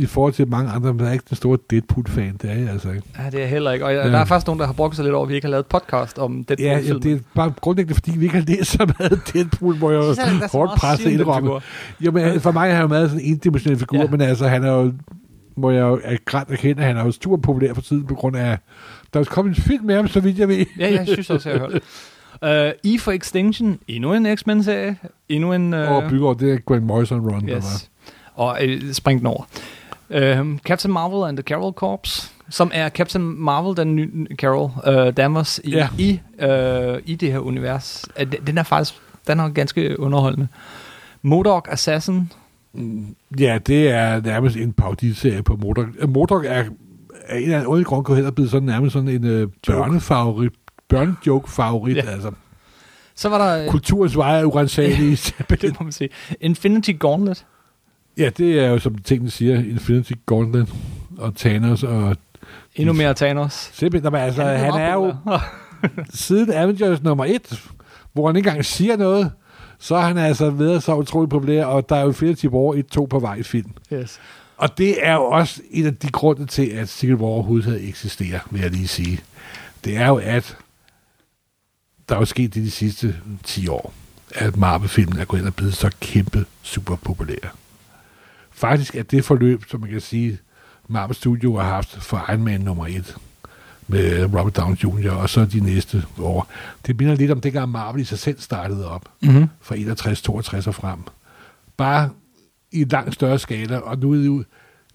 Speaker 2: i forhold til mange andre, men jeg er ikke den store Deadpool-fan, det er jeg altså ikke.
Speaker 1: Ja, det er jeg heller ikke. Og jeg,
Speaker 2: Ja.
Speaker 1: der er faktisk nogen, der har brugt sig lidt over, at vi ikke har lavet et podcast om Deadpool.
Speaker 2: Ja, ja, det er bare grundlæggende, fordi vi ikke har læst så meget Deadpool, hvor jeg er hårdt presset indrømme. Jo, men for mig er han jo meget sådan en endimensionel figur,
Speaker 1: Ja.
Speaker 2: ja. men altså, han er jo, må jeg jo er grænt erkende, at han er jo super populær for tiden på grund af, der er kommet en film med ham, så vidt jeg ved.
Speaker 1: Ja, jeg synes også, jeg har hørt. Uh, E for Extinction, endnu en X-Men-serie, endnu en... øh,
Speaker 2: Øh. Og bygger over det der Grant Morrison run, yes. der var.
Speaker 1: Yes. Og øh, spring den over. Øhm, Captain Marvel and the Carol Corps, som er Captain Marvel, den nye Carol øh, Danvers i,
Speaker 2: Ja.
Speaker 1: i, øh, i det her univers. Øh, den- Den er faktisk den er ganske underholdende. Modok Assassin,
Speaker 2: Ja, det er nærmest en parodiserie på Modok. Øh, Modok er, er en af en underlig grund, kunne heller blive sådan nærmest sådan en øh, børnefavorit børnejoke-favorit,
Speaker 1: Ja.
Speaker 2: ja. altså.
Speaker 1: så var der... øh,
Speaker 2: Kulturens veje er urensagelig.
Speaker 1: Det må man sige. Infinity Gauntlet.
Speaker 2: ja, det er jo, som tingene siger, Infinity Gauntlet og Thanos og
Speaker 1: Endnu mere Thanos.
Speaker 2: Simpelthen, Nå, men altså, han, han er jo siden Avengers nummer 1, hvor han ikke engang siger noget, så er han altså ved så utrolig populær, og der er jo flere typer år, et to på vej i film.
Speaker 1: yes.
Speaker 2: Og det er jo også en af de grunde til, at Civil War overhovedet eksisterer, vil jeg lige sige. Det er jo, at der er jo sket det de sidste 10 år, at Marvel-filmen er gået hen og blevet så kæmpe super populær. Faktisk er det forløb, som man kan sige, Marvel Studio har haft for Iron Man nummer 1, med Robert Downey Jr., og så de næste år. Det minder lidt om dengang Marvel i sig selv startede op,
Speaker 1: Mm-hmm.
Speaker 2: fra 61, 62 og frem. Bare i en langt større skala, og nu er det jo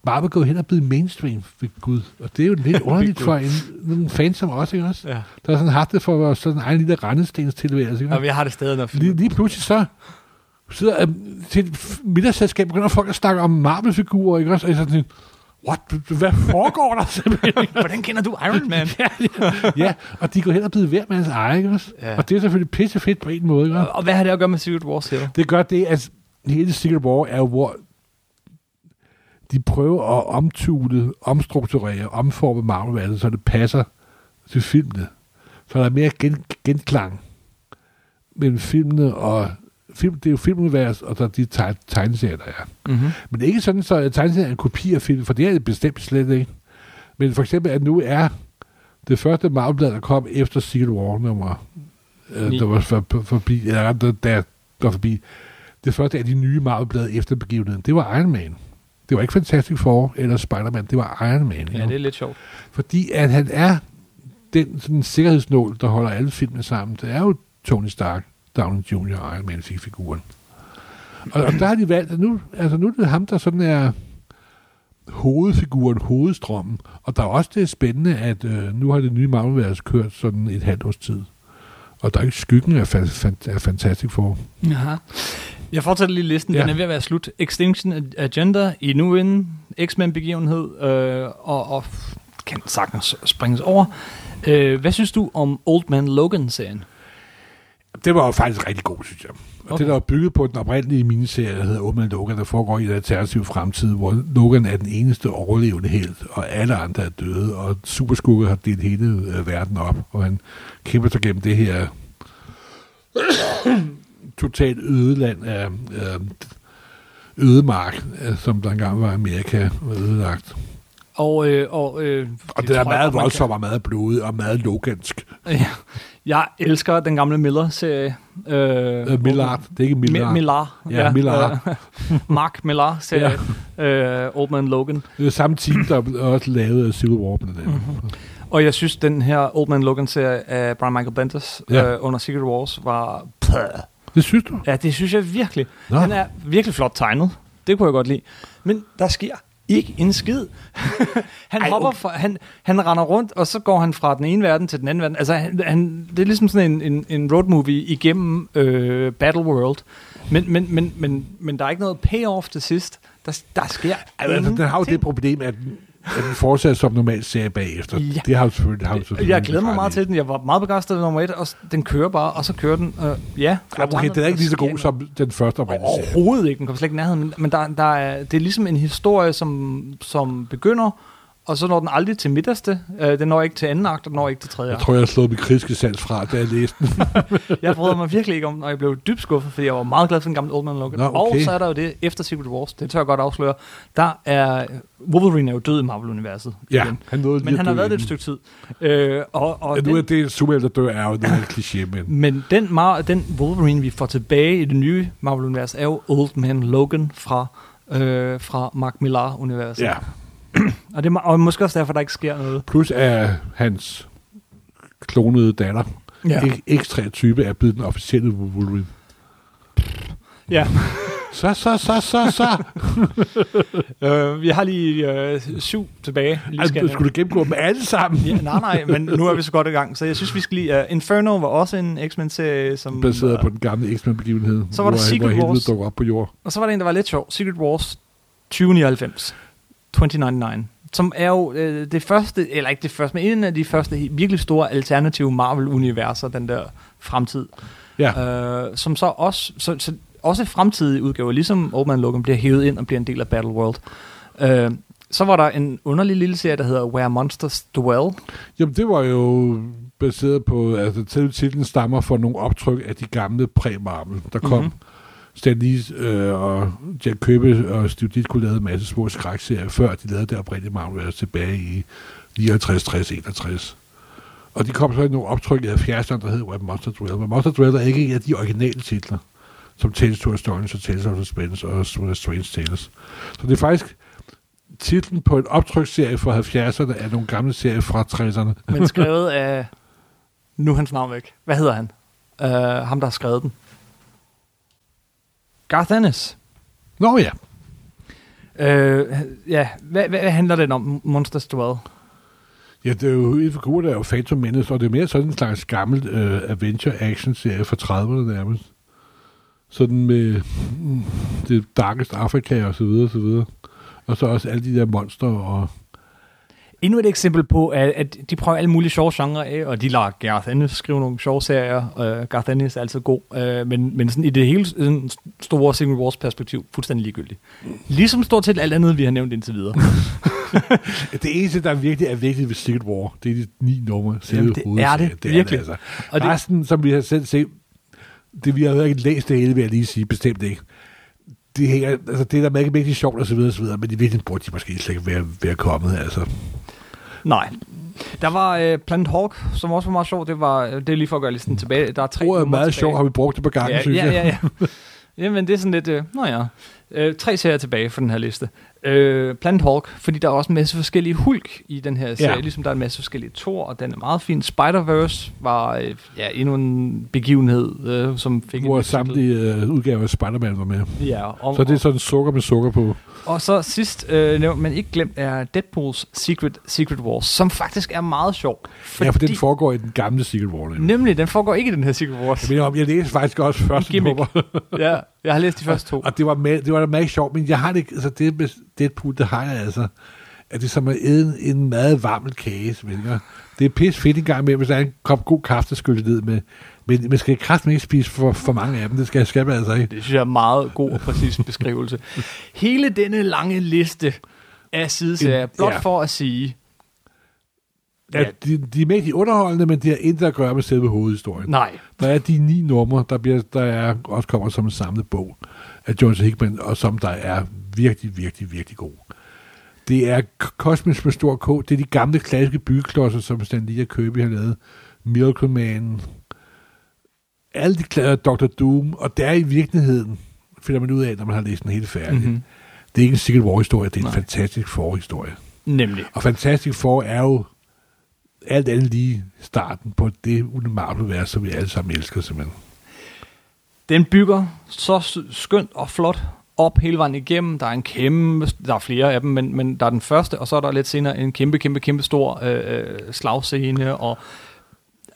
Speaker 2: Marvel gået hen og blevet mainstream, ved Gud. Og det er jo lidt underligt for en, nogle fans som os, ikke også?
Speaker 1: Ja.
Speaker 2: Der har sådan haft det for vores sådan egen lille rendestens tilværelse, ikke
Speaker 1: Og
Speaker 2: også?
Speaker 1: vi har det stadig, når
Speaker 2: Lige, lige pludselig så sidder øhm, til et f- middagsselskab, begynder folk at snakke om Marvel-figurer, ikke også? Og jeg er sådan, lidt, what? Hvad foregår der simpelthen?
Speaker 1: Hvordan kender du Iron Man?
Speaker 2: ja, og de går hen og bliver hver mands eje, ikke også?
Speaker 1: Ja.
Speaker 2: Og det er selvfølgelig pissefedt på en måde, ikke også?
Speaker 1: og hvad har det at gøre med Secret War, siger du?
Speaker 2: Det gør det, at hele Secret War er jo, hvor de prøver at omtule, omstrukturere, omforme marvel så det passer til filmene. Så der er mere gen, genklang mellem filmene og film, det er jo filmunivers, og så de teg- tegneserier, der er.
Speaker 1: Mm-hmm.
Speaker 2: Men det er ikke sådan, så at tegneserier er en kopi af film, for det er det bestemt slet ikke. Men for eksempel, at nu er det første marvel der kom efter Secret War nummer, øh,
Speaker 1: Ni.
Speaker 2: der var for, for, forbi, eller der, der var forbi, det første af de nye marvel efter begivenheden, det var Iron Man. Det var ikke Fantastic Four eller Spider-Man, det var Iron Man.
Speaker 1: Ja,
Speaker 2: jo.
Speaker 1: det er lidt sjovt.
Speaker 2: Fordi at han er den sådan, sikkerhedsnål, der holder alle filmene sammen. Det er jo Tony Stark, Downey Jr. og Iron Man fik figuren. Og, og der har de valgt, at nu, altså nu er det ham, der sådan er hovedfiguren, hovedstrømmen. Og der er også det spændende, at øh, nu har det nye marvel kørt sådan et halvt års tid. Og der er ikke skyggen af, fa- fan- af Fantastic Four.
Speaker 1: Jaha. Jeg fortsætter lige listen. Den
Speaker 2: Ja.
Speaker 1: er ved at være slut. Extinction Agenda, Inuin, X-Men-begivenhed, øh, og, og kan sagtens springes over. Øh, hvad synes du om Old Man Logan-serien?
Speaker 2: Det var jo faktisk rigtig god, synes jeg. Og okay.
Speaker 1: Okay.
Speaker 2: det, der var bygget på den oprindelige miniserie, der hedder Åben Logan, der foregår i en alternativ fremtid, hvor Logan er den eneste overlevende helt, og alle andre er døde, og Superskugge har delt hele øh, verden op, og han kæmper sig gennem det her totalt ødeland af øh, ødemark, øh, som der engang var Amerika ødelagt.
Speaker 1: Og, øh, og, øh,
Speaker 2: Og det, det er
Speaker 1: tror jeg
Speaker 2: meget
Speaker 1: godt, man kan-
Speaker 2: voldsomt og meget blodet og meget logansk.
Speaker 1: Ja. Jeg elsker den gamle Miller-serie. Øh,
Speaker 2: Øh, Millard, det er ikke
Speaker 1: Millard.
Speaker 2: Millard.
Speaker 1: Millar.
Speaker 2: Ja, Millar.
Speaker 1: Øh, Mark Millar, serie. Ja. Øh, Old Man Logan.
Speaker 2: Det er samme team, der også lavede Civil War blandt andet.
Speaker 1: Og jeg synes, den her Old Man Logan-serie af Brian Michael Bendis
Speaker 2: Ja.
Speaker 1: ja. øh, under Secret Wars var...
Speaker 2: Det synes du?
Speaker 1: Ja, det synes jeg virkelig.
Speaker 2: Nå.
Speaker 1: Nå. Den er virkelig flot tegnet. Det kunne jeg godt lide. Men der sker ikke en skid. han Ej, hopper fra, han, han render rundt, og så går han fra den ene verden til den anden verden. Altså, han, han, det er ligesom sådan en, en, en road movie igennem øh, Battle World. Men, men, men, men, men der er ikke noget payoff til sidst. Der, der sker
Speaker 2: Altså,
Speaker 1: Mhm.
Speaker 2: den har jo det
Speaker 1: ingenting.
Speaker 2: problem, at den, at den fortsætter som normal serie bagefter.
Speaker 1: Ja.
Speaker 2: Det har jo selvfølgelig... Har jo selvfølgelig
Speaker 1: Jeg glæder mig
Speaker 2: ret
Speaker 1: meget
Speaker 2: i.
Speaker 1: til den. Jeg var meget begejstret ved nummer et, og s- den kører bare, og så kører den. Øh, ja,
Speaker 2: Ja, okay, den er ikke lige så god som den første oprindelige serie.
Speaker 1: Overhovedet ikke. Den kommer slet ikke i nærheden. Men, men der, der er, det er ligesom en historie, som, som begynder, og så når den aldrig til midterste. Øh, den når ikke til anden akt, og den når ikke til tredje
Speaker 2: Jeg
Speaker 1: akt.
Speaker 2: tror, jeg har slået min kritiske sans fra, da jeg læste den.
Speaker 1: Jeg brød mig virkelig ikke om den, og jeg blev dybt skuffet, fordi jeg var meget glad for den gamle Old Man Logan.
Speaker 2: Nå, okay.
Speaker 1: Og så er der jo det efter Secret Wars, det tør jeg godt afsløre. Der er Wolverine er jo død i Marvel-universet.
Speaker 2: Ja,
Speaker 1: igen.
Speaker 2: han nåede lige
Speaker 1: Men
Speaker 2: at
Speaker 1: han har
Speaker 2: dø
Speaker 1: været det et
Speaker 2: inden.
Speaker 1: stykke tid. Øh, og, og
Speaker 2: Ja,
Speaker 1: den-
Speaker 2: nu er det en superhelt, der dør, er jo noget af en kliché, men...
Speaker 1: Men den, Mar- den Wolverine, vi får tilbage i det nye Marvel-univers, er jo Old Man Logan fra, øh, fra Mark Millar-universet.
Speaker 2: Ja.
Speaker 1: Og, det er, ma- og måske også derfor, der ikke sker noget.
Speaker 2: Plus er hans klonede datter,
Speaker 1: Ja.
Speaker 2: ja. X3 type, er blevet den officielle Wolverine.
Speaker 1: Ja.
Speaker 2: Så, så, så, så, så.
Speaker 1: øh, vi har lige øh, syv tilbage. Lige skal
Speaker 2: Altså,
Speaker 1: jeg
Speaker 2: skulle du gennemgå dem alle sammen?
Speaker 1: nævne. ja, nej, nej, men nu er vi så godt i gang. Så jeg synes, vi skal lige... Uh, Inferno var også en X-Men-serie, som... øh,
Speaker 2: Baseret på den gamle X-Men-begivenhed,
Speaker 1: Så var der
Speaker 2: hvor,
Speaker 1: Secret
Speaker 2: hvor helvede
Speaker 1: Wars.
Speaker 2: dukker op på jord.
Speaker 1: Og så var der en, der var lidt sjov. Secret Wars 2099. 2099. Som er jo øh, det første, eller ikke det første, men en af de første he- virkelig store alternative Marvel-universer, den der fremtid.
Speaker 2: Ja.
Speaker 1: Øh, som så også, så, så også fremtidige udgaver, ligesom Old Man Logan, bliver hævet ind og bliver en del af Battle World. Øh, så var der en underlig lille serie, der hedder Where Monsters Dwell.
Speaker 2: Jamen, det var jo baseret på, altså til titlen stammer fra nogle optryk af de gamle præmarmel, der kom. Mm-hmm.
Speaker 1: Mhm.
Speaker 2: Stan Lee øh, og Jack Købe og Steve Ditko lavede en masse små skrækserier, før de lavede det oprindelige marmel altså tilbage i 59, 60, 61. Og de kom så i nogle optryk af 70'erne, der hed Web Monster Dwell. Men Monster Dwell er ikke en af de originale titler, som Tales to Astonish og Tales of Suspense og Strange Tales. Så det er faktisk titlen på en optryksserie fra 70'erne af nogle gamle serier fra 60'erne.
Speaker 1: men skrevet af... Nu er hans navn væk. Hvad hedder han? Uh, ham, der har skrevet den. Garth Ennis.
Speaker 2: Nå ja,
Speaker 1: Uh, ja, hvad, hvad, hvad handler den om, Monsters Dwell?
Speaker 2: ja det er jo en figur, der er jo Phantom Menace, og det er mere sådan en slags gammel øh, adventure-action-serie fra 30'erne nærmest. Sådan med mm, det darkest Afrika og så videre, og så videre. Og så også alle de der monster og...
Speaker 1: Endnu et eksempel på, at, at de prøver alle mulige sjove genrer af, og de lader Garth Ennis skrive nogle sjove serier. Uh, Garth Ennis er altid god, uh, men, men sådan i det hele sådan store Secret Wars perspektiv, fuldstændig ligegyldigt. Ligesom stort set alt andet, vi har nævnt indtil videre.
Speaker 2: Det eneste, der virkelig er vigtigt ved Secret War, det er de ni numre. selve
Speaker 1: Jamen, det er
Speaker 2: hovedserien.
Speaker 1: det, virkelig.
Speaker 2: altså.
Speaker 1: Og det-
Speaker 2: Resten, som vi har selv set, det vi har jo ikke læst det hele, vil jeg lige sige, bestemt ikke. Det, hænger, altså, det er da mega, mega sjovt og så videre, og så videre, men i virkeligheden burde de måske slet ikke være, være kommet, altså.
Speaker 1: Nej. Der var øh, Planet Hawk, som også var meget sjov. Det, var, øh, det er lige for at gøre listen tilbage. Der er tre
Speaker 2: Ordet er
Speaker 1: numre
Speaker 2: meget
Speaker 1: tilbage.
Speaker 2: sjovt, har vi brugt det på gangen,
Speaker 1: ja,
Speaker 2: synes
Speaker 1: ja,
Speaker 2: jeg.
Speaker 1: ja, ja. Jamen, det er sådan lidt... Øh, nå ja. Øh, tre serier tilbage for den her liste. Øh, Planet Hulk, fordi der er også en masse forskellige Hulk i den her serie,
Speaker 2: Ja.
Speaker 1: ja. ligesom der er en masse forskellige Thor, og den er meget fin. Spider-Verse var øh, ja, endnu en begivenhed, øh, som fik... en
Speaker 2: Hvor
Speaker 1: ny titel.
Speaker 2: samtlige øh, udgaver af Spider-Man var med.
Speaker 1: Ja, og,
Speaker 2: Så det er sådan sukker med sukker på.
Speaker 1: Og så sidst øh, nævnt, men ikke glemt, er Deadpools Secret, Secret Wars, som faktisk er meget sjov.
Speaker 2: Fordi... Ja, for den foregår i den gamle Secret War. nemlig.
Speaker 1: Nemlig, den foregår ikke i den her Secret Wars.
Speaker 2: Jeg mener om, jeg læste faktisk også første
Speaker 1: gimmick.
Speaker 2: nummer,
Speaker 1: ja, jeg har læst de første to.
Speaker 2: og det var, med, det var da meget sjovt, men jeg har det ikke, altså det med Deadpool, det har jeg altså, at det er som at æde en, en meget varm kage. Svenker. Det er pis fedt en gang imellem, hvis der er en kop god kaffe, der skyldes ned med. Men man skal kraften ikke spise for, for mange af dem. Det skal, skal man altså ikke.
Speaker 1: Det synes jeg er en meget god og præcis beskrivelse. Hele denne lange liste af sideserier, blot
Speaker 2: Ja.
Speaker 1: for at sige,
Speaker 2: Ja.
Speaker 1: Ja.
Speaker 2: de, de er mægtig underholdende, men de har intet at gøre med selve hovedhistorien.
Speaker 1: nej,
Speaker 2: Der er de ni numre, der, bliver, der er, også kommer som en samlet bog af George Hickman, og som der er virkelig, virkelig, virkelig god. Det er k- Cosmic med stor K. Det er de gamle klassiske byggeklodser, som Stan Lee og Kirby har lavet. Miracle Man. Alle de klassiske Dr. Doom. Og det er i virkeligheden, finder man ud af, når man har læst den helt færdig. Mm-hmm. Det er ikke en Civil War-historie, det er en
Speaker 1: Nej.
Speaker 2: fantastisk forhistorie.
Speaker 1: nemlig.
Speaker 2: Og Fantastic Four er jo alt andet lige starten på det Marvel-vers, som vi alle sammen elsker simpelthen.
Speaker 1: Den bygger så s- skønt og flot op hele vejen igennem. Der er en kæmpe, der er flere af dem, men, men der er den første, og så er der lidt senere en kæmpe, kæmpe, kæmpe stor øh, øh, slagscene, og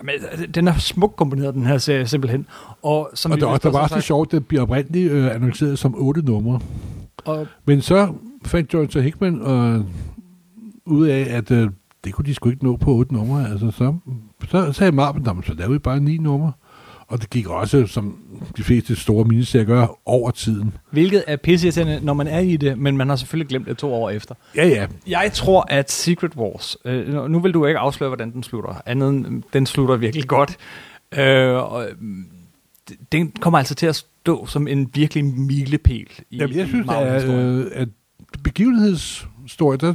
Speaker 1: men, den er smukt komponeret, den her serie, simpelthen. Og, som
Speaker 2: Og
Speaker 1: vi
Speaker 2: der,
Speaker 1: vist
Speaker 2: også, der var
Speaker 1: har
Speaker 2: også det
Speaker 1: sagt,
Speaker 2: sjovt, det bliver oprindeligt øh, annonceret som otte numre.
Speaker 1: og,
Speaker 2: Men så fandt Jonathan Hickman øh, ud af, at øh, det kunne de sgu ikke nå på otte numre. Altså, så, så sagde Marvel, "Nå, men så lavede vi bare ni numre. Og det gik også, som de fleste store miniserier gør, over tiden.
Speaker 1: hvilket er pisseirriterende, når man er i det, men man har selvfølgelig glemt det to år efter.
Speaker 2: Ja, ja.
Speaker 1: Jeg tror, at Secret Wars... Øh, nu- nu vil du ikke afsløre, hvordan den slutter. Andet end, øh, den slutter virkelig godt. Øh, og, øh, den kommer altså til at stå som en virkelig milepæl i,
Speaker 2: Jamen, jeg
Speaker 1: i
Speaker 2: synes, at,
Speaker 1: Marvel-historien.
Speaker 2: øh, at begivenhedsstorie, der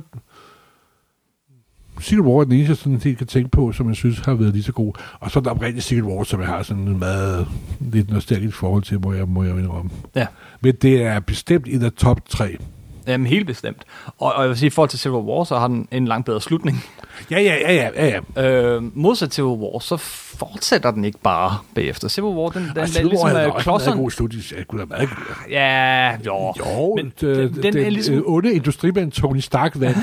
Speaker 2: Civil War er den eneste, jeg sådan set kan tænke på, som jeg synes har været lige så god. Og så er der oprindeligt Civil War, som jeg har sådan en meget lidt nostalgisk forhold til, må jeg, må jeg indrømme.
Speaker 1: Ja,
Speaker 2: Men det er bestemt et af top tre.
Speaker 1: jamen, helt bestemt. Og, og jeg vil sige, i forhold til Civil War, så har den en langt bedre slutning.
Speaker 2: Ja, ja, ja, ja, ja. ja.
Speaker 1: Øh, modsat Civil War, så fortsætter den ikke bare bagefter. Civil War, den, den, den
Speaker 2: Og
Speaker 1: er
Speaker 2: Altså, Civil War
Speaker 1: ligesom
Speaker 2: havde da
Speaker 1: øh,
Speaker 2: også en meget
Speaker 1: klodseren...
Speaker 2: god slut. Jeg kunne da meget
Speaker 1: Ja, jo.
Speaker 2: jo,
Speaker 1: Men
Speaker 2: men, øh,
Speaker 1: den- den
Speaker 2: den,
Speaker 1: er
Speaker 2: den,
Speaker 1: ligesom-
Speaker 2: øh, onde industrimand Tony Stark vandt.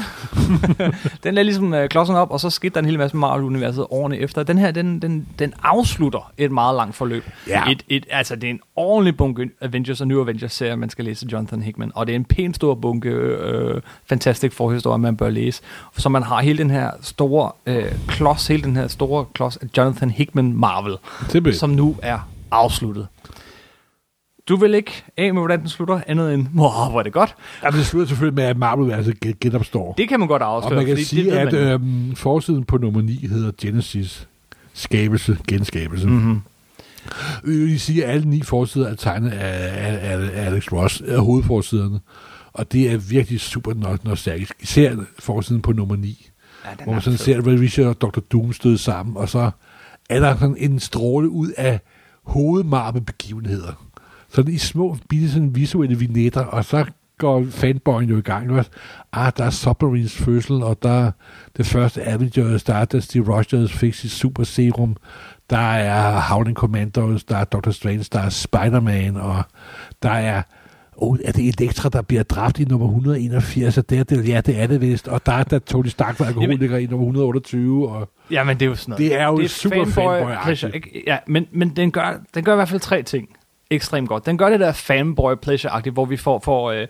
Speaker 1: Den er ligesom øh, klodsen op, og så skete der en hel masse med Marvel-universet årene efter. Den her, den, den, den afslutter et meget langt forløb.
Speaker 2: Ja.
Speaker 1: Et, et, altså, det er en ordentlig bunke Avengers og New Avengers-serier, man skal læse af Jonathan Hickman. Og det er en pæn stor bunke øh, fantastisk forhistorie, man bør læse. Så man har hele den her store øh, klods, hele den her store klods af Jonathan Hickman Marvel,
Speaker 2: Simpelthen.
Speaker 1: som nu er afsluttet. Du vil ikke af med, hvordan den slutter, andet end, åh, hvor er det godt.
Speaker 2: Jamen, det slutter selvfølgelig med, at Marvel-værelset gen- genopstår.
Speaker 1: Det kan man godt
Speaker 2: Og
Speaker 1: afsløre,
Speaker 2: man kan
Speaker 1: fordi det
Speaker 2: sige,
Speaker 1: ved
Speaker 2: at
Speaker 1: man.
Speaker 2: øhm, forsiden på nummer 9 hedder Genesis. Skabelse, genskabelse. Øh, Mm-hmm.
Speaker 1: Mhm.
Speaker 2: Vi siger, at alle ni forsider er tegnet af, af, af Alex Ross, af hovedforsiderne. Og det er virkelig super no- nostalgisk. Især forsiden på nummer 9,
Speaker 1: Ja, den
Speaker 2: hvor
Speaker 1: er
Speaker 2: man sådan
Speaker 1: fed.
Speaker 2: ser, at Richard og Dr. Doom støde sammen, og så er der sådan en stråle ud af hovedmarme begivenheder. Sådan i små, bitte sådan visuelle vignetter, og så går fanboyen jo i gang. Ikke? også? Ah, der er Submarines fødsel, og der er det første Avengers, der er der Steve Rogers fik sit super serum, der er Howling Commandos, der er Dr. Strange, der er Spider-Man, og der er Oh, er det Elektra, der bliver dræbt i nummer 181? Og det er det, ja, det er det vist. Og der er der Tony Stark, der er alkoholiker i nummer 128. Og
Speaker 1: Jamen, det er jo sådan noget.
Speaker 2: Det er jo super fanboy-agtigt.
Speaker 1: pleasure, ikke? Ja, men, men den, gør, den gør i hvert fald tre ting ekstremt godt. Den gør det der fanboy pleasure hvor vi får, får øh,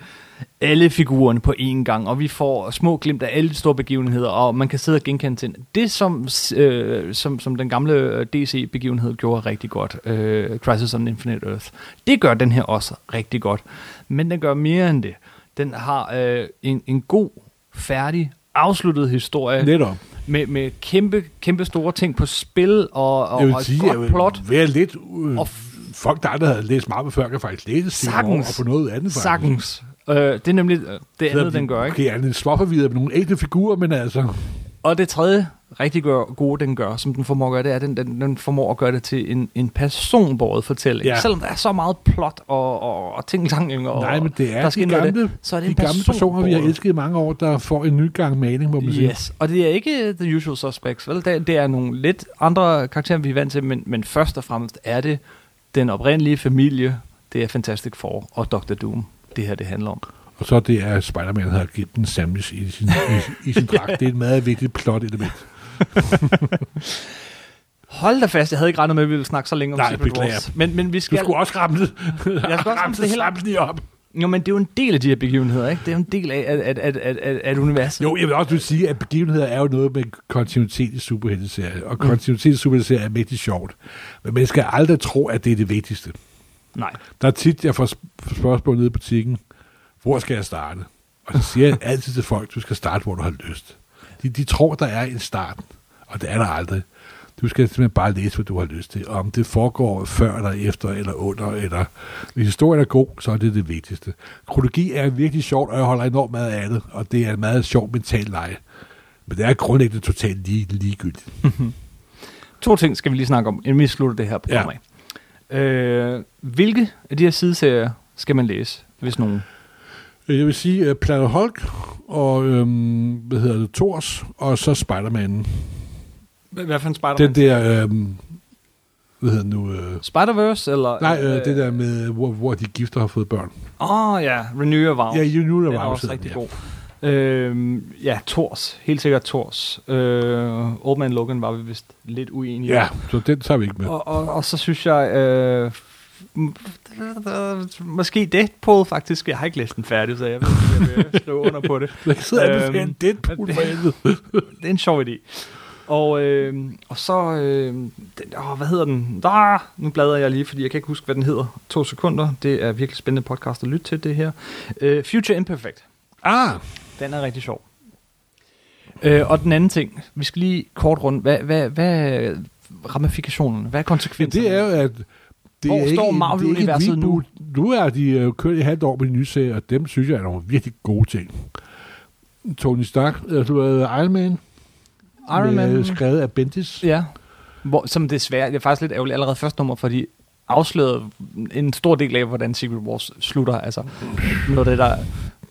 Speaker 1: alle figurerne på én gang, og vi får små glimt af alle de store begivenheder, og man kan sidde og genkende til den. Det, som, øh, som, som den gamle øh, DC-begivenhed gjorde rigtig godt, øh, Crisis on Infinite Earth, det gør den her også rigtig godt. Men den gør mere end det. Den har øh, en, en god, færdig, afsluttet historie
Speaker 2: netop.
Speaker 1: med, med kæmpe, kæmpe store ting på spil og, og,
Speaker 2: Jeg
Speaker 1: og
Speaker 2: vil
Speaker 1: et
Speaker 2: sige,
Speaker 1: godt
Speaker 2: jeg vil
Speaker 1: plot.
Speaker 2: være lidt... Øh,
Speaker 1: Og
Speaker 2: folk, der aldrig havde læst Marvel før, kan faktisk læse Civil War
Speaker 1: Sagtens.
Speaker 2: og på noget andet. faktisk.
Speaker 1: Sagtens. Øh, det er nemlig øh, det
Speaker 2: Så
Speaker 1: andet, den gør, ikke?
Speaker 2: Okay, han er lidt småforvirret med nogle ægte figurer, men altså...
Speaker 1: Og det tredje rigtig gør, gode, den gør, som den formår at gøre, det er, at den, den, den formår at gøre det til en, en personbåret fortælling.
Speaker 2: Ja.
Speaker 1: Selvom der er så meget plot og, og, og ting lang og
Speaker 2: Nej, men det
Speaker 1: der
Speaker 2: er
Speaker 1: skal
Speaker 2: de
Speaker 1: noget af
Speaker 2: gamle,
Speaker 1: det, så er det
Speaker 2: de
Speaker 1: en
Speaker 2: gamle personer, vi har
Speaker 1: personbåret.
Speaker 2: elsket i mange år, der får en ny gang maling, må man sige.
Speaker 1: Yes, og det er ikke øh, The Usual Suspects, vel? Det, det er nogle lidt andre karakterer, vi er vant til, men, men først og fremmest er det den oprindelige familie, det er Fantastic Four og Dr. Doom, det her det handler om.
Speaker 2: Og så det er, at Spider-Man har gemt en sandwich i sin, i, i sin dragt. Det er et meget vigtigt plot-element.
Speaker 1: Hold da fast, jeg havde ikke regnet med, at vi ville snakke så længe om
Speaker 2: Nej,
Speaker 1: Secret
Speaker 2: beklager.
Speaker 1: Wars. Men, men vi
Speaker 2: Du
Speaker 1: skal...
Speaker 2: skulle også ramme det. Jeg
Speaker 1: også ramme det hele.
Speaker 2: ramte det op.
Speaker 1: Jo, men det er jo en del af de her begivenheder, ikke? Det er jo en del af, at, at, at, at, at universet.
Speaker 2: Jo, jeg vil også sige, at begivenheder er jo noget med kontinuitet i superhelteserier, og kontinuitet i superhelteserier er mægtig sjovt. Men man skal aldrig tro, at det er det vigtigste.
Speaker 1: Nej.
Speaker 2: Der er tit, jeg får sp- spørgsmål nede i butikken, hvor skal jeg starte? Og så siger jeg altid til folk, du skal starte, hvor du har lyst. De, de tror, der er en start, og det er der aldrig. Du skal simpelthen bare læse, hvad du har lyst til. Og om det foregår før eller efter eller under, eller hvis historien er god, så er det det vigtigste. Kronologi er virkelig sjovt, og jeg holder enormt meget af det, og det er en meget sjov mental leje. Men det er grundlæggende totalt lige, ligegyldigt.
Speaker 1: To ting skal vi lige snakke om, inden vi slutter det her program
Speaker 2: Ja.
Speaker 1: ja. af. Øh, hvilke af de her sideserier skal man læse, hvis nogen?
Speaker 2: Øh, Jeg vil sige uh, Planet Hulk og, øhm, hvad hedder det, Thors, og så Spider-Man.
Speaker 1: Hvad for en spider
Speaker 2: Den der, øhm, hvad hedder den nu, øh,
Speaker 1: Spider-Verse, eller?
Speaker 2: nej, øh, det der med, hvor, hvor de gifter har fået børn.
Speaker 1: Åh, oh, ja. Renew Vows.
Speaker 2: Ja, you knew
Speaker 1: Den er også rigtig god. Øhm, ja, Thors. Helt sikkert Thors. Øh, Old Man Logan var vi vist lidt uenige
Speaker 2: Ja,
Speaker 1: om.
Speaker 2: så den tager vi ikke med.
Speaker 1: Og, og, og så synes jeg... Øh, m- måske Deadpool faktisk. Jeg har ikke læst den færdig, så jeg ved ikke, om jeg vil skrive under på det.
Speaker 2: Jeg sidder og anbefaler
Speaker 1: Øhm,
Speaker 2: en Deadpool for helvede.
Speaker 1: Det er en sjov idé. Og, øh, og så, øh, den, åh, hvad hedder den? Ah, nu bladrer jeg lige, fordi jeg kan ikke huske, hvad den hedder. To sekunder. Det er virkelig spændende podcast at lytte til, det her. Øh, Future Imperfect.
Speaker 2: Ah,
Speaker 1: Den er rigtig sjov. Øh, og den anden ting, vi skal lige kort rundt. Hvad, hvad, hvad er ramifikationerne? Hvad er
Speaker 2: men
Speaker 1: konsekvenserne?
Speaker 2: det er jo, at det
Speaker 1: Hvor
Speaker 2: er
Speaker 1: står
Speaker 2: ikke, en- det er
Speaker 1: Marvel-universet
Speaker 2: ikke et
Speaker 1: nu?
Speaker 2: reboot. Nu er de øh, kørt i halvt år med de nye serier, og dem synes jeg er nogle virkelig gode ting. Tony Stark, øh, du er Iron Man,
Speaker 1: Iron Man.
Speaker 2: Med, øh, skrevet af Bendis.
Speaker 1: Ja. Hvor, som desværre, det er faktisk lidt ærgerligt, allerede første nummer, fordi afslørede en stor del af, hvordan Secret Wars slutter. Altså, noget af det, der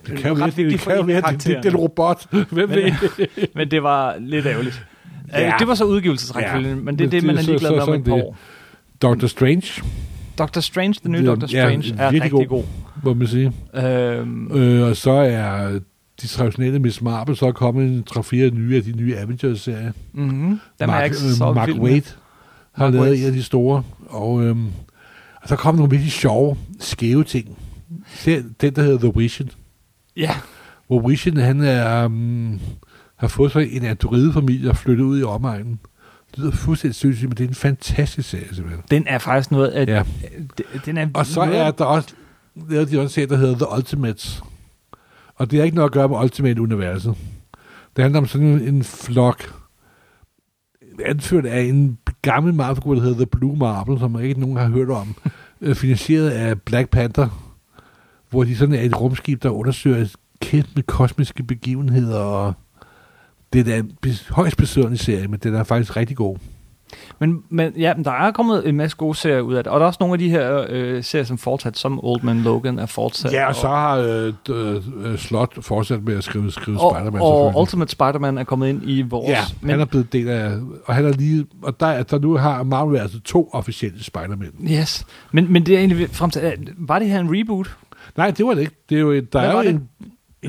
Speaker 2: Det kan jo
Speaker 1: ret
Speaker 2: være,
Speaker 1: vigtigt
Speaker 2: det,
Speaker 1: for
Speaker 2: kan jo
Speaker 1: en
Speaker 2: være, det, det,
Speaker 1: karakter.
Speaker 2: det er en robot. Hvem
Speaker 1: Men-
Speaker 2: ved?
Speaker 1: Men det var lidt ærgerligt.
Speaker 2: Ja.
Speaker 1: Ja. Det var så udgivelsesrækkefølgen,
Speaker 2: Ja.
Speaker 1: ja. men det er det,
Speaker 2: Det-
Speaker 1: man
Speaker 2: det-
Speaker 1: er
Speaker 2: så-
Speaker 1: ligeglad
Speaker 2: så-
Speaker 1: med om
Speaker 2: sådan
Speaker 1: et par
Speaker 2: det.
Speaker 1: år.
Speaker 2: Doctor Strange,
Speaker 1: Doctor Strange, den nye
Speaker 2: Det-
Speaker 1: Doctor
Speaker 2: ja,
Speaker 1: Strange, er
Speaker 2: virkelig
Speaker 1: rigtig god. god.
Speaker 2: må man sige.
Speaker 1: Øhm,
Speaker 2: Øh, og så er de traditionelle Miss Marvel, så er kommet en 3-4 nye af de nye Avengers-serier.
Speaker 1: mm-hmm. Den er jeg ikke
Speaker 2: øh,
Speaker 1: så
Speaker 2: Mark
Speaker 1: vild med.
Speaker 2: Waid har
Speaker 1: Mark
Speaker 2: lavet
Speaker 1: Waid.
Speaker 2: en af de store. Og, øhm, og så kom nogle virkelig sjove, skæve ting. Se, Den, der hedder The Vision.
Speaker 1: Ja,
Speaker 2: Hvor Vision, han er, um, har fået sig en androidefamilie og flyttet ud i omegnen. Det lyder fuldstændig sindssygt, men det er en fantastisk serie, simpelthen.
Speaker 1: den er faktisk noget af...
Speaker 2: Ja.
Speaker 1: d- Den er
Speaker 2: Og så
Speaker 1: noget-
Speaker 2: er der også lavet de også en serie, der hedder The Ultimates. Og det har ikke noget at gøre med Ultimate-universet. Det handler om sådan en, en flok, anført af en gammel marvel der hedder The Blue Marble, som ikke nogen har hørt om, øh, finansieret af Black Panther, hvor de sådan er et rumskib, der undersøger kæmpe kosmiske begivenheder, og det er da en bes- højst besøgende serie, men den er faktisk rigtig god.
Speaker 1: Men, men ja, men der er kommet en masse gode serier ud af det, og der er også nogle af de her øh, serier, som fortsat, som Old Man Logan er fortsat.
Speaker 2: Ja, og så har øh, d- øh, Slot fortsat med at skrive, skrive
Speaker 1: og,
Speaker 2: Spider-Man.
Speaker 1: og,
Speaker 2: selvfølgelig.
Speaker 1: og Ultimate Spider-Man er kommet ind i vores...
Speaker 2: Ja, men... han er blevet del af, og han er lige, og der, er- der nu har Marvel altså to officielle Spider-Man.
Speaker 1: Yes, men, men det er egentlig frem til... øh, Var det her en reboot?
Speaker 2: Nej, det var det ikke. Det er jo, en- der
Speaker 1: Hvad
Speaker 2: er jo
Speaker 1: var det?
Speaker 2: en,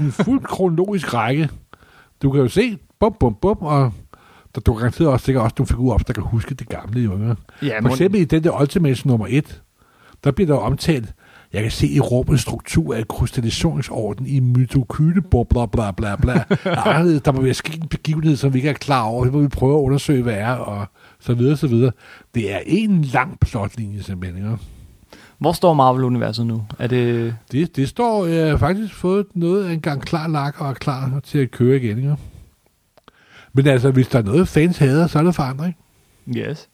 Speaker 2: en fuld kronologisk række. Du kan jo se, bum, bum, bum, og der du garanteret også sikkert også nogle figurer op, der kan huske det gamle. Jo. ikke?
Speaker 1: Ja,
Speaker 2: For
Speaker 1: mon-
Speaker 2: eksempel i den der Ultimates nummer 1, der bliver der omtalt, jeg kan se i rummets struktur af krystalliseringsorden i mitokyle, bla bla bla bla bla. Anderledes, der må være sket en begivenhed, som vi ikke er klar over. Det må vi prøve at undersøge, hvad er, og så videre, så videre. Det er en lang plotlinje, simpelthen. Ikke?
Speaker 1: Hvor står Marvel-universet nu? Er det...
Speaker 2: Det, det står øh, faktisk fået noget af en gang klar lak og er klar til at køre igen. Ikke? Men altså, hvis der er noget, fans hader, så er det forandring.
Speaker 1: Yes.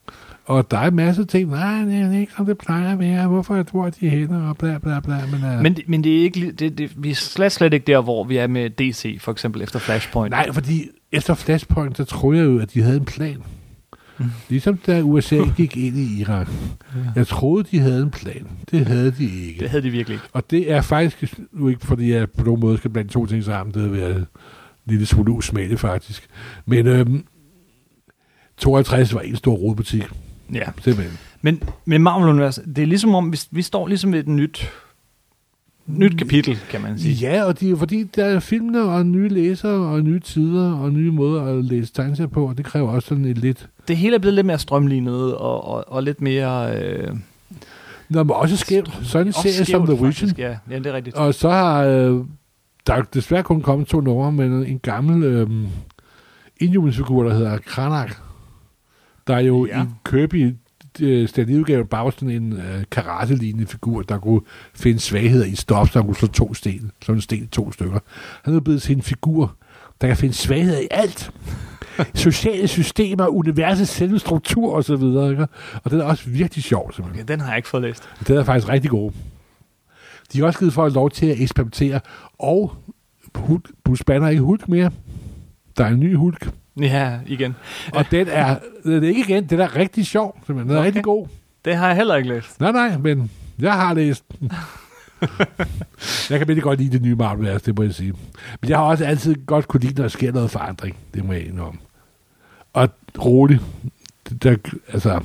Speaker 2: Og der er masser af ting, nej, det er ikke, som det plejer at være, hvorfor tror de hænder, og bla bla bla. Men, uh,
Speaker 1: Men, men det er ikke, li- det, det, vi er slet, slet ikke der, hvor vi er med DC, for eksempel efter Flashpoint.
Speaker 2: Nej, fordi efter Flashpoint, der troede jeg jo, at de havde en plan.
Speaker 1: Mm.
Speaker 2: Ligesom da USA gik ind i Irak. Jeg troede, de havde en plan. Det havde de ikke.
Speaker 1: Det havde de virkelig ikke.
Speaker 2: Og det er faktisk nu ikke, fordi jeg på nogen måde skal blande to ting sammen. Det vil være en lille smule usmagelig, faktisk. Men øhm, 52 var en stor rodbutik,
Speaker 1: Ja.
Speaker 2: simpelthen.
Speaker 1: Men, men Marvel-universet, det er ligesom om, vi, vi står ligesom ved et nyt, nyt kapitel, kan man sige.
Speaker 2: Ja, og det er fordi, der er filmene og nye læsere og nye tider og nye måder at læse tegneserier på, og det kræver også sådan et lidt...
Speaker 1: Det hele er blevet lidt mere strømlignet og, og, og lidt mere... Øh,
Speaker 2: Nå, men også skævt. Sådan en serie som The Vision.
Speaker 1: Faktisk, ja. ja, det er rigtigt.
Speaker 2: Og så har... Øh, der er desværre kun kommet to numre, men en gammel øh, indjubilæumsfigur, der hedder Kranak, der er jo ja.
Speaker 1: Ja.
Speaker 2: i Kirby øh, standardudgave bare var sådan en øh, karate-lignende figur, der kunne finde svagheder i et stof, så han kunne slå to sten, slå en sten i to stykker. Han er blevet til en figur, der kan finde svagheder i alt. Sociale systemer, universets selve struktur osv. Og det er også virkelig sjovt, simpelthen.
Speaker 1: Ja, den har jeg ikke fået læst.
Speaker 2: Det er faktisk rigtig gode. De har også givet folk lov til at eksperimentere, og Hulk, Bruce Banner er ikke Hulk mere. Der er en ny Hulk,
Speaker 1: Ja, igen.
Speaker 2: og den er, den er ikke igen, den er rigtig sjov, simpelthen. Den er okay.
Speaker 1: Okay.
Speaker 2: rigtig god.
Speaker 1: Det har jeg heller ikke læst.
Speaker 2: Nej, nej, men jeg har læst den. jeg kan virkelig godt lide det nye marvel det må jeg sige. Men jeg har også altid godt kunne lide, når der sker noget forandring. Det må jeg indrømme. Og roligt. Det- Der, altså,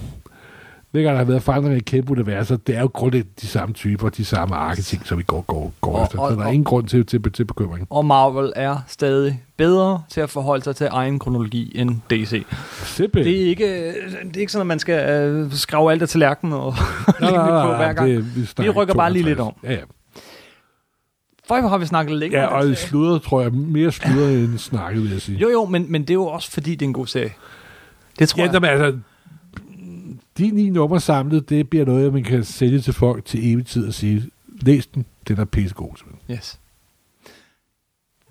Speaker 2: hver gang der har været forandring i kæmpe universer, det er jo grundlæggende de samme typer, de samme arketing, som vi går, går, går
Speaker 1: Og-
Speaker 2: efter.
Speaker 1: og-
Speaker 2: Så der er
Speaker 1: og-
Speaker 2: ingen grund til, til, til bekymring.
Speaker 1: Og Marvel er stadig bedre til at forholde sig til egen kronologi end DC.
Speaker 2: Simpelthen.
Speaker 1: Det er ikke, det er ikke sådan, at man skal øh, skrave alt af tallerkenen og
Speaker 2: Nej,
Speaker 1: lægge
Speaker 2: nej,
Speaker 1: nyt
Speaker 2: nej,
Speaker 1: på
Speaker 2: nej,
Speaker 1: hver gang.
Speaker 2: det- snakker
Speaker 1: Vi rykker bare lige
Speaker 2: 52.
Speaker 1: lidt
Speaker 2: Ja, ja.
Speaker 1: For har vi snakket længe.
Speaker 2: ja
Speaker 1: om den
Speaker 2: og
Speaker 1: serie.
Speaker 2: sludder, tror jeg, mere sludder end snakket, vil jeg sige.
Speaker 1: jo, jo, men, men det er jo også, fordi det er en god serie. Det tror
Speaker 2: Ja,
Speaker 1: ja, jeg.
Speaker 2: jamen, altså, de ni numre samlet, det bliver noget, man kan sælge til folk til evig tid og sige, læs den, den er pissegod. simpelthen."
Speaker 1: Yes.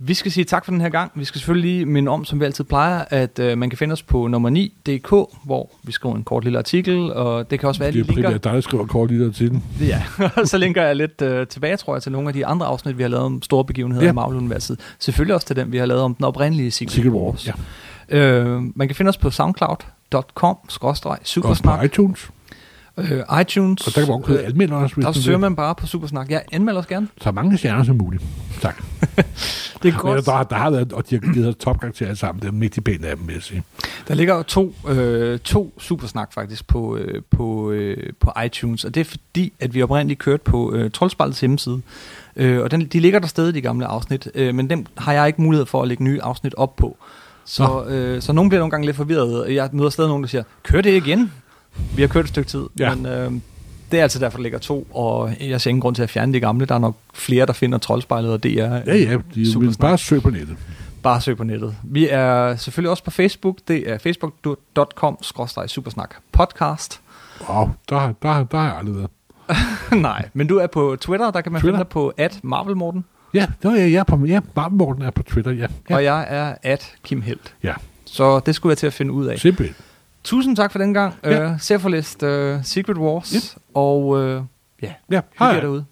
Speaker 1: Vi skal sige tak for den her gang. Vi skal selvfølgelig lige minde om, som vi altid plejer, at øh, man kan finde os på nummer 9.dk, hvor vi skriver en kort lille artikel, og det kan også være, at
Speaker 2: Det er
Speaker 1: linker...
Speaker 2: primært dig, der skriver kort litter til den.
Speaker 1: Ja, og så linker jeg lidt øh, tilbage, tror jeg, til nogle af de andre afsnit, vi har lavet om store begivenheder
Speaker 2: Ja.
Speaker 1: ja. i Marvel-universet. Selvfølgelig også til den, vi har lavet om den oprindelige Secret,
Speaker 2: Secret Wars.
Speaker 1: Wars.
Speaker 2: Ja.
Speaker 1: Øh, man kan finde os på
Speaker 2: Og på
Speaker 1: soundcloud.com-supersnak,
Speaker 2: iTunes.
Speaker 1: øh, iTunes.
Speaker 2: Og der kan man også købe
Speaker 1: øh,
Speaker 2: almindelig også, hvis
Speaker 1: der
Speaker 2: man
Speaker 1: søger
Speaker 2: vil.
Speaker 1: man bare på Supersnak. Ja, anmeld os gerne.
Speaker 2: Så mange stjerner som muligt. Tak.
Speaker 1: Det er
Speaker 2: Men
Speaker 1: godt.
Speaker 2: der, der, har været, og de har givet os topkarakterer alle sammen. Det er mægtig pænt af dem, vil jeg sige.
Speaker 1: Der ligger jo to, øh, to Supersnak faktisk på, øh, på, øh, på iTunes, og det er fordi, at vi oprindeligt kørte på øh, Troldspejlets hjemmeside, øh, og den, de ligger der stadig, de gamle afsnit, øh, men dem har jeg ikke mulighed for at lægge nye afsnit op på. Så, øh, så nogen bliver nogle gange lidt forvirret. Jeg møder stadig nogen, der siger, kør det igen. Vi har kørt et stykke tid,
Speaker 2: Ja.
Speaker 1: ja. men øh, det er altså derfor, der ligger to, og jeg ser ingen grund til at fjerne de gamle. Der er nok flere, der finder Troldspejlet og DR.
Speaker 2: Ja, ja, de
Speaker 1: Super
Speaker 2: vil
Speaker 1: snak.
Speaker 2: bare søge på nettet.
Speaker 1: Bare søg på nettet. Vi er selvfølgelig også på Facebook. Det er facebook.com-supersnak-podcast.
Speaker 2: Wow, der, har- der, har- der har jeg aldrig været.
Speaker 1: Nej, men du er på Twitter. Der kan man
Speaker 2: Twitter?
Speaker 1: finde dig på at Marvelmorten.
Speaker 2: Ja, nå, ja, jeg er på, ja, Martin Morten er på Twitter, ja.
Speaker 1: Ja.
Speaker 2: Ja,
Speaker 1: Og jeg er at Kim Helt.
Speaker 2: ja.
Speaker 1: Så det skulle jeg til at finde ud af.
Speaker 2: simpelthen.
Speaker 1: Tusind tak for den gang.
Speaker 2: Ja.
Speaker 1: Ja. Uh, Serforlist uh, Secret Wars.
Speaker 2: Yep.
Speaker 1: Og uh, ja,
Speaker 2: Ja,
Speaker 1: hygge
Speaker 2: hej.
Speaker 1: jer derude.